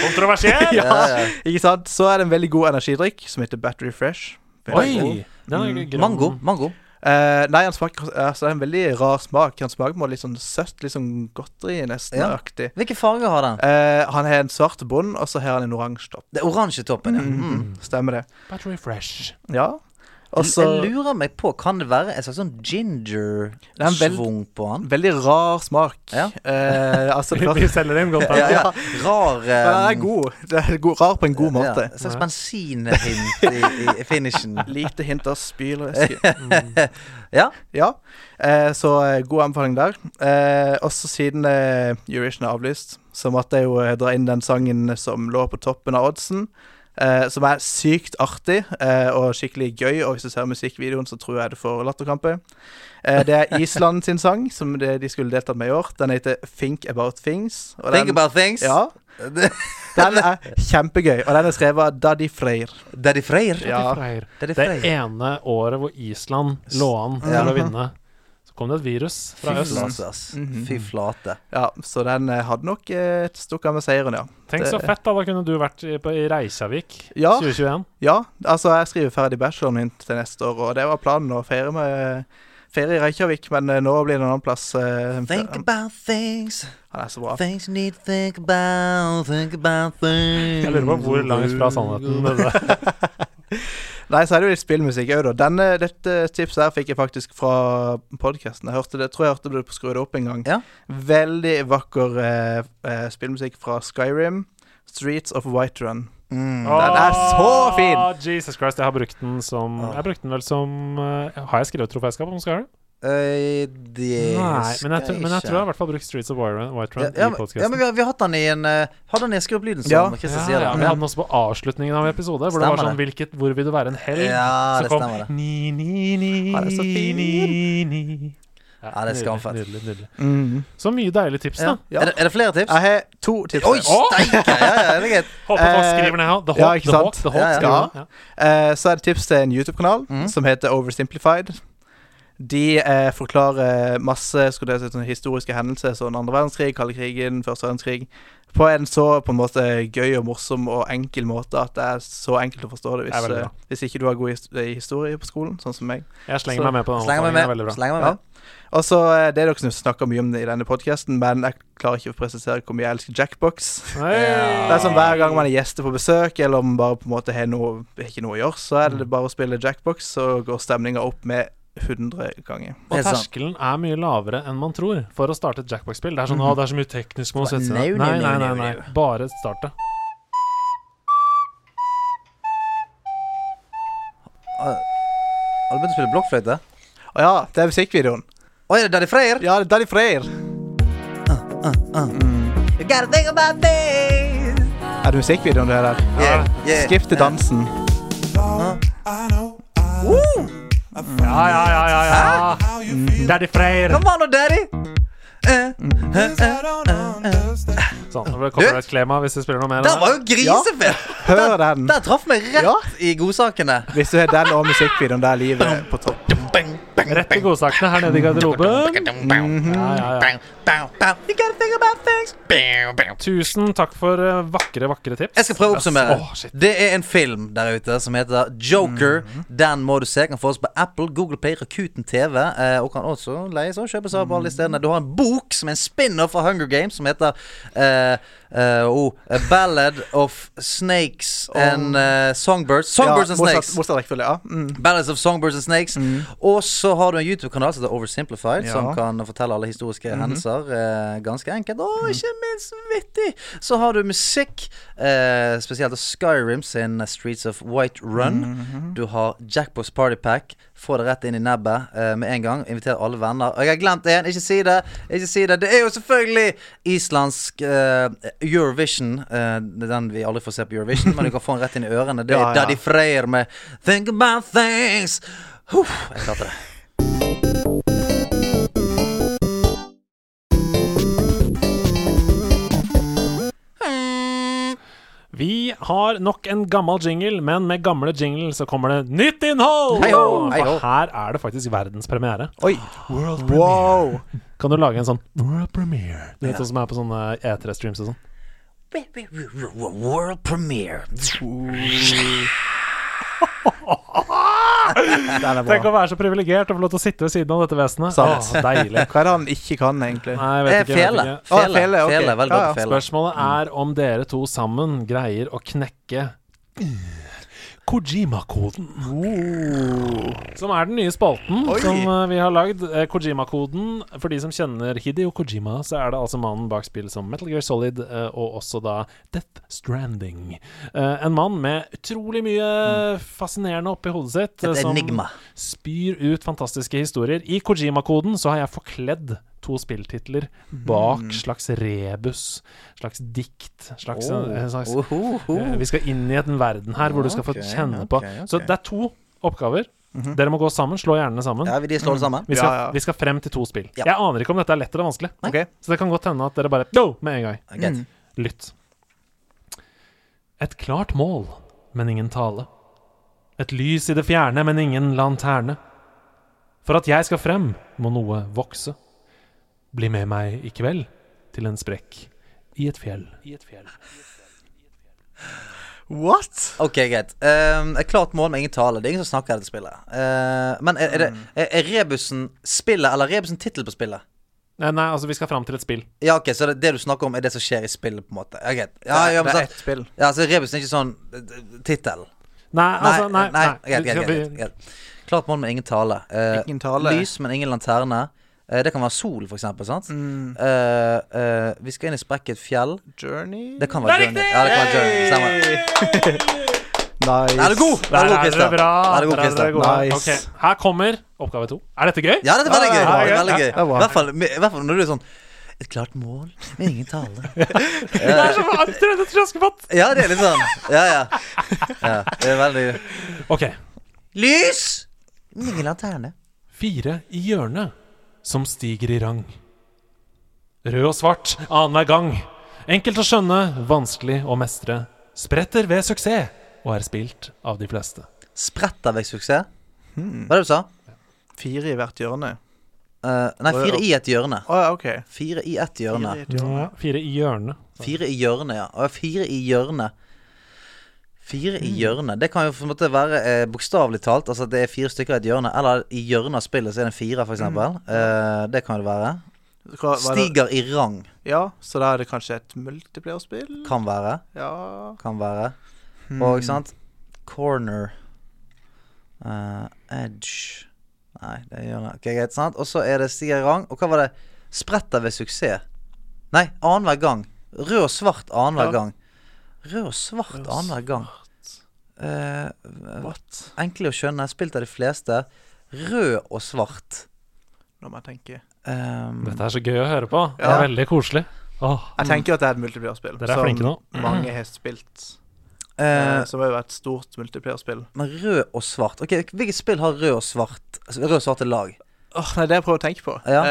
Kontroversiell! ja, ikke sant? Så er det en veldig god energidrikk som heter Battery Fresh. Veldig god. Oi! Den er grønn. Mm. Mango. Mango. Eh, nei, han smaker, altså, det er en veldig rar smak. Han smaker på en måte litt sånn søtt, litt sånn godteri Ja. nesten-aktig. Hvilken farge har den? Eh, han har en svart bånd, og så har han en oransje topp. Det er oransje toppen, ja. Mm. Stemmer det. Battery fresh. Ja. Og så Jeg lurer meg på, kan det være en slags sånn er en veld- ginger-svung på han? Veldig rar smak. Ja. Eh, altså, det var, Vi selger inn godt. Ja, ja. Rar men den eh, er god. Det er god. Rar på en god måte. Ja, en slags bensinhint i, i finishen. Lite hint av spylervæske. Ja. Ja. Eh, så eh, god anbefaling der. Eh, også siden eh, Eurovision er avlyst, så måtte jeg jo eh, dra inn den sangen som lå på toppen av oddsen. Eh, som er sykt artig eh, og skikkelig gøy, og hvis du ser musikkvideoen, så tror jeg du får latterkrampe. Eh, det er Island sin sang, som det, de skulle deltatt med i år. Den heter 'Think About Things'. og Think den- about things. Ja. Den er kjempegøy, og den er skrevet av Daddy Freyr. Daddy Freyr. Ja. Freyr. Daddy Det Freyr. ene året hvor Island lå an til Ja. å vinne, så kom det et virus fra Fy øst. flate, ass. Fy flate. Mhm. Ja, så den eh, hadde nok eh, stukket av med seieren, ja. Tenk så fett, da. Da kunne du vært i, på, i Reykjavik Ja. 2021. Ja, altså jeg skriver ferdig bacheloren min til neste år, og det var planen å feire med Feire i Reykjavik, men eh, nå blir det en annen plass. eh, Think Han about things. er så bra. Things you need to think about. Think about things. Jeg lurer på hvor langt fra sannheten det er. Nei, så er det jo litt spillmusikk òg, da. Denne, dette tipset her fikk jeg faktisk fra podkasten. Jeg hørte det, tror jeg hørte det på Skru det opp en gang. Ja. Veldig vakker eh, eh, spillmusikk fra Skyrim. Streets of Whiterun. Mm. Mm. Den Ah. er så fin! Åh, Ah, Jesus Christ, jeg har brukt den som Jeg brukte den vel som eh, Har jeg skrevet trofeiskap om Skyrim? Øy, Nei, det men jeg, husker tror- men jeg tror jeg har i hvert fall brukt Streets of White Run, White Run i ja, ja, men- ja, men podcasten vi har, vi har hatt den i en eh, Hadde den i Skrubblyden, som Ja. Christer Ja, sier. ja, da. vi hadde den også på avslutningen av en episode, hvor det var Stemmer sånn hvilket, 'Hvor vil du være en helg?' Ja, så det kom stemmer det. ni, ni, ni, Ja, det er så fin. ni, ni. Ja, det er nydelig, skamfett. Nydelig, nydelig. Mm. Så mye deilige tips, da. Ja. Er, det, er det flere tips? Jeg har to tips. Oi, steike! Ja, ja, det er greit. Håper folk Eh, skriver ned her. The Hawk, ja, ikke The Hawk, sant? The Hawk. Ja, ja. skriver de ned, Eh, så er det tips til en YouTube-kanal Mm. som heter Oversimplified. De eh, forklarer masse skulle jeg si, sånne historiske hendelser som andre verdenskrig, kalde krigen, første verdenskrig, på en så på en måte gøy og morsom og enkel måte at det er så enkelt å forstå det Det er hvis, veldig eh, bra. hvis ikke du har god his i historie på skolen, sånn som meg. Jeg slenger Så- meg med på den. Slenger anbefalingen, meg det er med. veldig bra. Slenger meg Ja. med. Og så eh, det er dere som snakker mye om det i denne podkasten, men jeg klarer ikke å presisere hvor mye jeg elsker Jackbox. Hei. Det er sånn Hver gang man er gjester på besøk, eller om man bare på en måte har noe, ikke noe å gjøre, så er Mm. det bare å spille jackbox, så går stemninga opp med 100 ganger. Og Det er sånn. sant. terskelen er mye lavere enn man tror for å starte et jackbox-spill. Det er sånn Mhm. 'Å, det er så mye teknisk man må sette seg Nei, ned». nei, Nei, nei, nei, nei, nei. nei. Bare starte. Har du begynt å spille blokkfløyte? Og ja, det er musikkvideoen. Oi, er det Daddy Freyr? Ja, det er Daddy Freyr. You gotta think about this. Er det musikkvideoen du har der? Yeah, yeah. Skip til dansen. Ja, ja, ja, ja, ja. Mm. Daddy Freyr. Come on, oh, daddy. Eh, Sånn, det blir copyright-klema hvis du spiller noe mer. Der var jo grisefilm! Hør den. Der traff meg rett Ja. i godsakene. Hvis du har den og musikkvideoen, da er livet på topp. Bang, bang, Rett til godsakene her nede i garderoben. Ja, ja, ja. Bang, bang, bang. You gotta think about things. bang, bang. Tusen takk for eh, vakre, vakre tips. Jeg skal prøve å oppsummere. Åh, shit. det er en film der ute som heter Joker. Den må du se. Kan fås på Apple, Google Play, Rakuten TV. eh, Og kan også leies og kjøpes av på alle de stedene. Du har en bok som er en spin-off av Hunger Games, som heter eh, eh, oh, A Ballad of Snakes and eh, Songbirds. Songbirds and motsatt- Snakes. Motsatt rekkefølge, ja. Mm. Ballads of Songbirds and Snakes. Og så har du en YouTube-kanal som heter Oversimplified, Ja. som Mhm. kan fortelle alle historiske hendelser eh, ganske enkelt. Mm. Og ikke minst vittig! Så har du musikk, eh, spesielt av Skyrim sin Streets of White Run. Mhm. Du har Jackbox Party Pack. Få det rett inn i nebbet eh, med en gang. Inviter alle venner. Og jeg har glemt en, ikke si det! Ikke si det. Det er jo selvfølgelig islandsk eh, Eurovision. Eh, det er den vi aldri får se på Eurovision, men du kan få den rett inn i ørene. Det er Ja, ja. Daddy Freyr med 'Think About Things'. Huh, jeg klarte det. Vi har nok en gammel jingle, men med gamle jingle så kommer det nytt innhold! Hei-ho, hei-ho. For her er det faktisk verdenspremiere. Oi. World Wow. Kan du lage en sånn World premiere? Du vet sånn som er på sånne E3-streams og sånn. World premiere. Den er Tenk bra. å være så privilegert og få lov til å sitte ved siden av dette vesenet. Sant. Åh, deilig. Hva er det han ikke kan, egentlig? Nei, jeg vet Eh, ikke. jeg Vet Fele. ikke. Å, Fele. fele, ok. Fele, Veldig Ja, godt ja. fele. Spørsmålet er om dere to sammen greier å knekke Kojima-koden. Oh. Som er den nye spalten Oi. som eh, vi har lagd. Eh, Kojima-koden. For de som kjenner Hideo Kojima, så er det altså mannen bak spill som Metal Gear Solid eh, og også da Death Stranding. Eh, En mann med utrolig mye fascinerende oppi hodet sitt. eh, Mm. Et som enigma. spyr ut fantastiske historier. I Kojima-koden så har jeg forkledd to spilltitler Mm. bak slags rebus, slags dikt, slags, Oh. eh, slags Ohoho. Eh, Vi skal inn i en verden her hvor du skal få Ok, kjenne ok, på. ok. Så det er to oppgaver. Dere må gå sammen, slå hjernene sammen. Ja, vi de Mm. slår det sammen. Vi skal, Ja, ja. vi skal frem til to spill. Ja. Jeg aner ikke om dette er lett eller vanskelig. Ok. Så det kan godt hende at dere bare Go! med en gang. Mm. Greit. Lytt. Et klart mål, men ingen tale. Et lys i det fjerne, men ingen lanterne. For at jeg skal frem, må noe vokse. Bli med meg i kveld til en sprekk i et fjell. I et fjell. What? Ok, greit. Um, et klart mål med ingen tale. Det er ingen som snakker i dette spillet. Uh, men er, er, det, Mm. er, er rebusen spillet, eller er rebusen tittel på spillet? Nei, nei, altså, vi skal frem til et spill. Ja, ok, så det, det du snakker om, er det som skjer i spillet, på en måte. Ja, greit. Ja, Det er- ja, men det er så- ett spill. Ja, så rebusen er ikke sånn eh, tittel. Nei, altså, nei, nei, nei. Greit, greit, greit, greit. Klart mål med ingen tale. Eh, Ingen tale. Lys, men ingen lanterne. Eh, det kan være sol, for eksempel. Sant? Mm. Eh, eh, vi skal inn i sprekket fjell. Journey? Det kan være Journey. Ja, det kan være Journey. Stemmer. Nice. Er du god? Der er Er du god, dere Christian? bra. Er du god, Der er dere Christian? gode. Nice. Ok, Her kommer oppgave to. Er dette gøy? Ja, dette er veldig gøy. Ah, Det Ja, ja, er ja. veldig gøy. Ja, det I var- hvert fall- I hvert fall når du er sånn Et klart mål, men ingen tale. Det er som Alfred etter Askepott. Ja, det er litt sånn. Ja, ja. ja det er veldig Ok. Lys! men Ingen lanterne. Fire i hjørnet som stiger i rang. Rød og svart annenhver gang. Enkelt å skjønne, vanskelig å mestre. Spretter ved suksess og er spilt av de fleste. Spretter vekk suksess. Hmm. Hva er det du sa? Fire i hvert hjørne. Eh, nei, fire i et hjørne. Å ja, OK. Fire i ett Fire hjørne. i et hjørne. Fire i hjørnet. Fire i hjørnet, ja. Å, Fire i hjørnet. Fire Mm. i hjørnet. Det kan jo på en måte være eh, bokstavelig talt. Altså at det er fire stykker i et hjørne. Eller i hjørnet av spillet så er det en fire, for eksempel. Eh, det kan det være. Mm. Hva- hva er det- Stiger i rang Ja, så da er det kanskje et multiplierspill? kan være. Ja Kan være. Og ikke sant Corner. eh, edge Nei, det er hjørnet. Ok, greit, sant? Og så er det stiger i rang. Og hva var det? Spretter ved suksess. Nei, annenhver gang. Rød og svart annenhver Ja. gang. Rød og svart annenhver gang. Eh, What? enkle å skjønne. Spilt av de fleste. Rød og svart. Nå må jeg tenke. Ehm, Dette er så gøy å høre på. Det er Ja. veldig koselig. Åh, Mm. Jeg tenker jo at det er et multiplierspill Dere er flinke nå. mange har spilt. Eh, eh, som har jo vært et stort multiplierspill. men rød og svart Ok, Hvilket spill har rød og svart altså, Rød og svarte lag? Åh, nei, det jeg prøver å tenke på. Ja.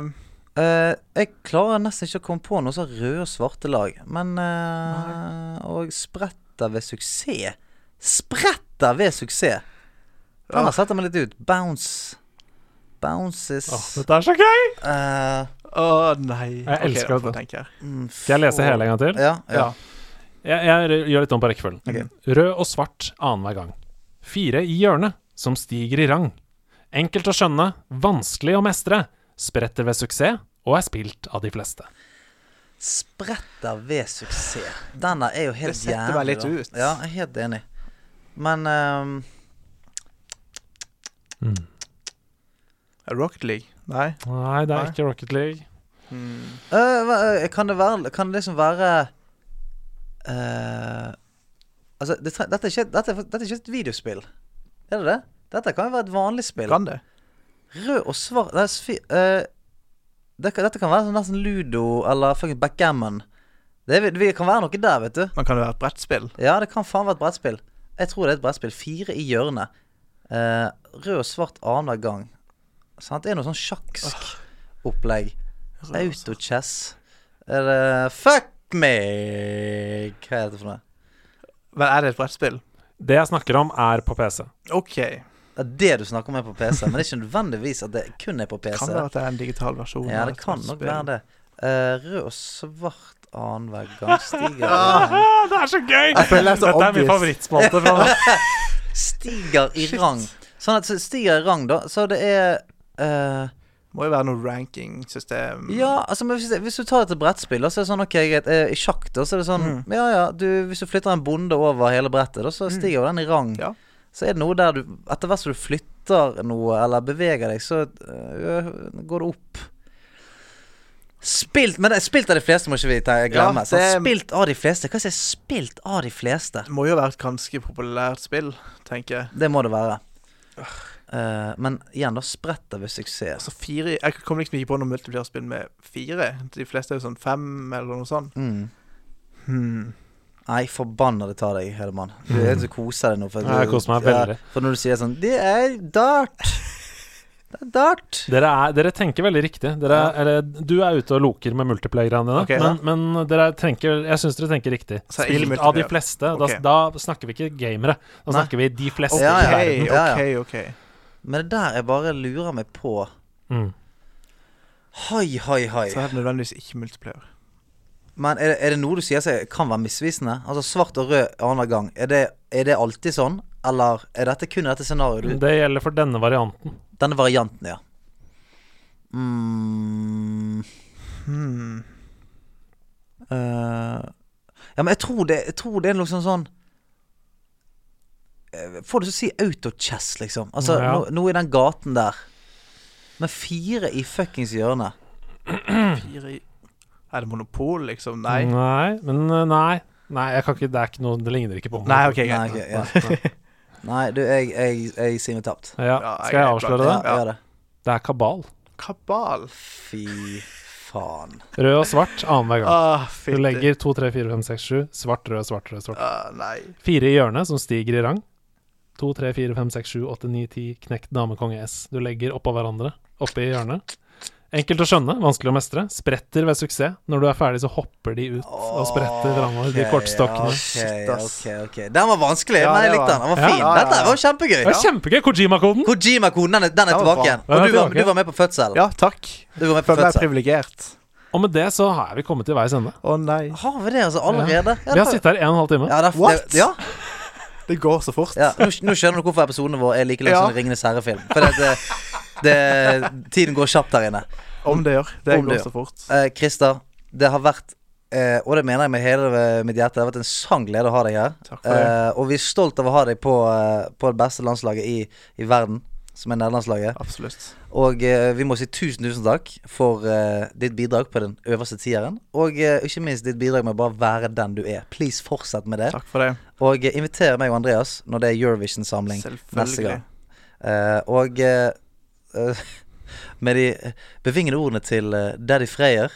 Eh, Eh, jeg klarer nesten ikke å komme på noe som har røde og svarte lag. Men eh, Og spretter ved suksess. Spretter ved suksess! Den har satt meg litt ut. Bounce. Bounces dette er så gøy! Eh, mm, Å nei. Jeg elsker da det. får jeg tenke her. Skal jeg lese hele en gang til? Ja. ja. Ja. Jeg, jeg gjør litt om på rekkefølgen. Rød og svart annenhver gang. Fire i hjørnet, som stiger i rang. Enkelt å skjønne, vanskelig å mestre. Spretter ved suksess, og er spilt av de fleste. Spretter ved suksess. Denne er jo helt Det setter meg jævlig, litt da. ut. Ja, jeg er helt enig. Men ehm, Rocket League? Nei. Nei, det Nei. er ikke Rocket League. Eh, hva- eh, kan det være Kan det liksom være eh, Altså, det, tre- dette, er ikke, dette, er, fakt- dette er ikke et videospill. Er det det? Dette kan jo være et vanlig spill. Kan det? Rød og svart nei, sfi, eh, det, kan- Dette kan være sånn nesten ludo eller fucking backgammon. Det, er- det kan være noe der, vet du. Man kan jo være et brettspill. Ja, det kan faen være et brettspill. Jeg tror det er et brettspill. Fire i hjørnet. Eh, rød og svart annenhver gang. Sant? Det er noe sånn sjakksk opplegg. Autochess. Er det Fuck meg! Hva er dette for noe? Men er det et brettspill? Det jeg snakker om, er på PC. OK. Det er det du snakker om er på PC, men det er ikke nødvendigvis at det kun er på PC. Kan det være at det er en digital versjon? Ja, av det et kan nok brettspill? være det. Eh, rød og svart annenhver gang stiger i- Ah, det er så gøy! føler det er så Dette er min obvious. favorittspalte. Fra Stiger i rang. Sånn at så stiger i rang, da. Så det er eh, Må jo være noe ranking-system. Ja, altså men hvis, hvis du tar et brettspill, da, så er det sånn ok, greit, eh, i sjakk da, så er det sånn Mm. Ja ja, du, hvis du flytter en bonde over hele brettet, da, så stiger jo den i rang. Ja. Så er det noe der du Etter hvert som du flytter noe, eller beveger deg, så eh, går det opp. Spilt Men det, er spilt av de fleste må ikke vi ta- glemme. Ja, sant? det- Spilt av de fleste. Hva sier spilt av de fleste? Det må jo være et ganske populært spill, tenker jeg. Det må det være. Eh, men igjen, da spretter vi suksess. Altså fire Jeg kom liksom ikke på noe multiplierspill med fire. De fleste er jo sånn fem, eller noe sånt. Mm. Hmm. Nei, forbanna det tar deg, Hedemann. Du er helt så koser deg nå. For, at Hmm. Ja, jeg du- koser meg ja, veldig. for når du sier sånn Det er dart. Det er dart. dere, er, dere tenker veldig riktig. Dere, er- eller, du er ute og loker med multiplayer-greiene dine, Ok, ja. men, men dere tenker, jeg syns dere tenker riktig. Så ikke Spilt av de multiplayer. fleste. Ok. Da, da snakker vi ikke gamere. Da Nei. snakker vi de fleste. Ja, OK, ja. i verden. Ja, OK, OK. Men det der jeg bare lurer meg på Mm. Hoi, hoi, hoi. Så er det nødvendigvis ikke multiplayer. Men er det, er det noe du sier som kan være misvisende? Altså svart og rød annenhver gang. Er det, er det alltid sånn? Eller er dette kun dette scenarioet? du- Det gjelder for denne varianten. Denne varianten, ja. Mm. Eh, ja, men jeg tror det, jeg tror det er liksom sånn Eh, Får du til å si autochess, liksom? Altså, Ja. no, noe i den gaten der. Med fire i fuckings hjørnet. Fire i Er det monopol, liksom? Nei. Nei, men uh, nei. Nei, jeg kan ikke, det er ikke noe Det ligner ikke på Nei, OK, Nei, greit. ok, ja. Nei, du, jeg, jeg, jeg sier meg tapt. Ja, Ja, jeg skal jeg er avsløre klar. det? Ja, Ja. gjør det. Det er kabal. Kabal. Fy faen. Rød og svart annenhver gang. Ah, Du fytti. legger 2, 3, 4, 5, 6, 7. Svart, rød, svart, rød, svart. Ah, nei. Fire i hjørnet, som stiger i rang. 2, 3, 4, 5, 6, 7, 8, 9, 10. Knekt dame, konge, S. Du legger oppå hverandre. Oppe i hjørnet. Enkelt å skjønne, vanskelig å mestre. Spretter ved suksess. Når du er ferdig, så hopper de ut og spretter hverandre, de kortstokkene. Ok, Shit, ass. ok, ok. Den var vanskelig, Ja, men jeg det likte var- den. Den var Ja. fin. Ja, ja, Dette var kjempegøy. Det er kjempegøy! Kojima-koden! Kojima-koden, den er, den er Den var tilbake bra. igjen. Den er Og du var, tilbake. du var med på fødsel. Ja, takk. Du var med på Føler meg fødsel. privilegert. Og med det så er vi kommet til veis ende. Å nei. Har vi det altså allerede? Ja, Vi har sittet her en og en halv time. ja, det, er- What? det, ja, Det går så fort. ja. Nå, nå skjønner du hvorfor episodene våre er like lang Ja. som en Ringenes herre-film. For det, det, det, tiden går kjapt der inne. Om det gjør. Det Om det går gjør. så fort. Eh, Christer, det har vært eh, og det mener jeg med hele eh, mitt hjerte. Det har vært en sann glede å ha deg her. Takk for det. Eh, og vi er stolt av å ha deg på, eh, på det beste landslaget i, i verden, som er nederlandslaget. Absolutt. Og eh, vi må si tusen, tusen takk for eh, ditt bidrag på den øverste tieren. Og eh, ikke minst ditt bidrag med å bare være den du er. Please, fortsett med det. Takk for det. Og eh, inviter meg og Andreas når det er Eurovision-samling neste Selvfølgelig. gang. Eh, og eh, eh, med de bevingede ordene til eh, Daddy Freyer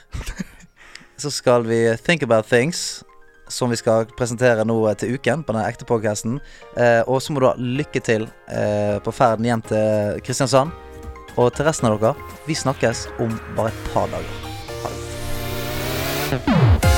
så skal vi Think About Things, som vi skal presentere nå eh, til uken på den ekte podcasten. Eh, og så må du ha lykke til eh, på ferden hjem til Kristiansand. Og til resten av dere, vi snakkes om bare et par dager. Ha det.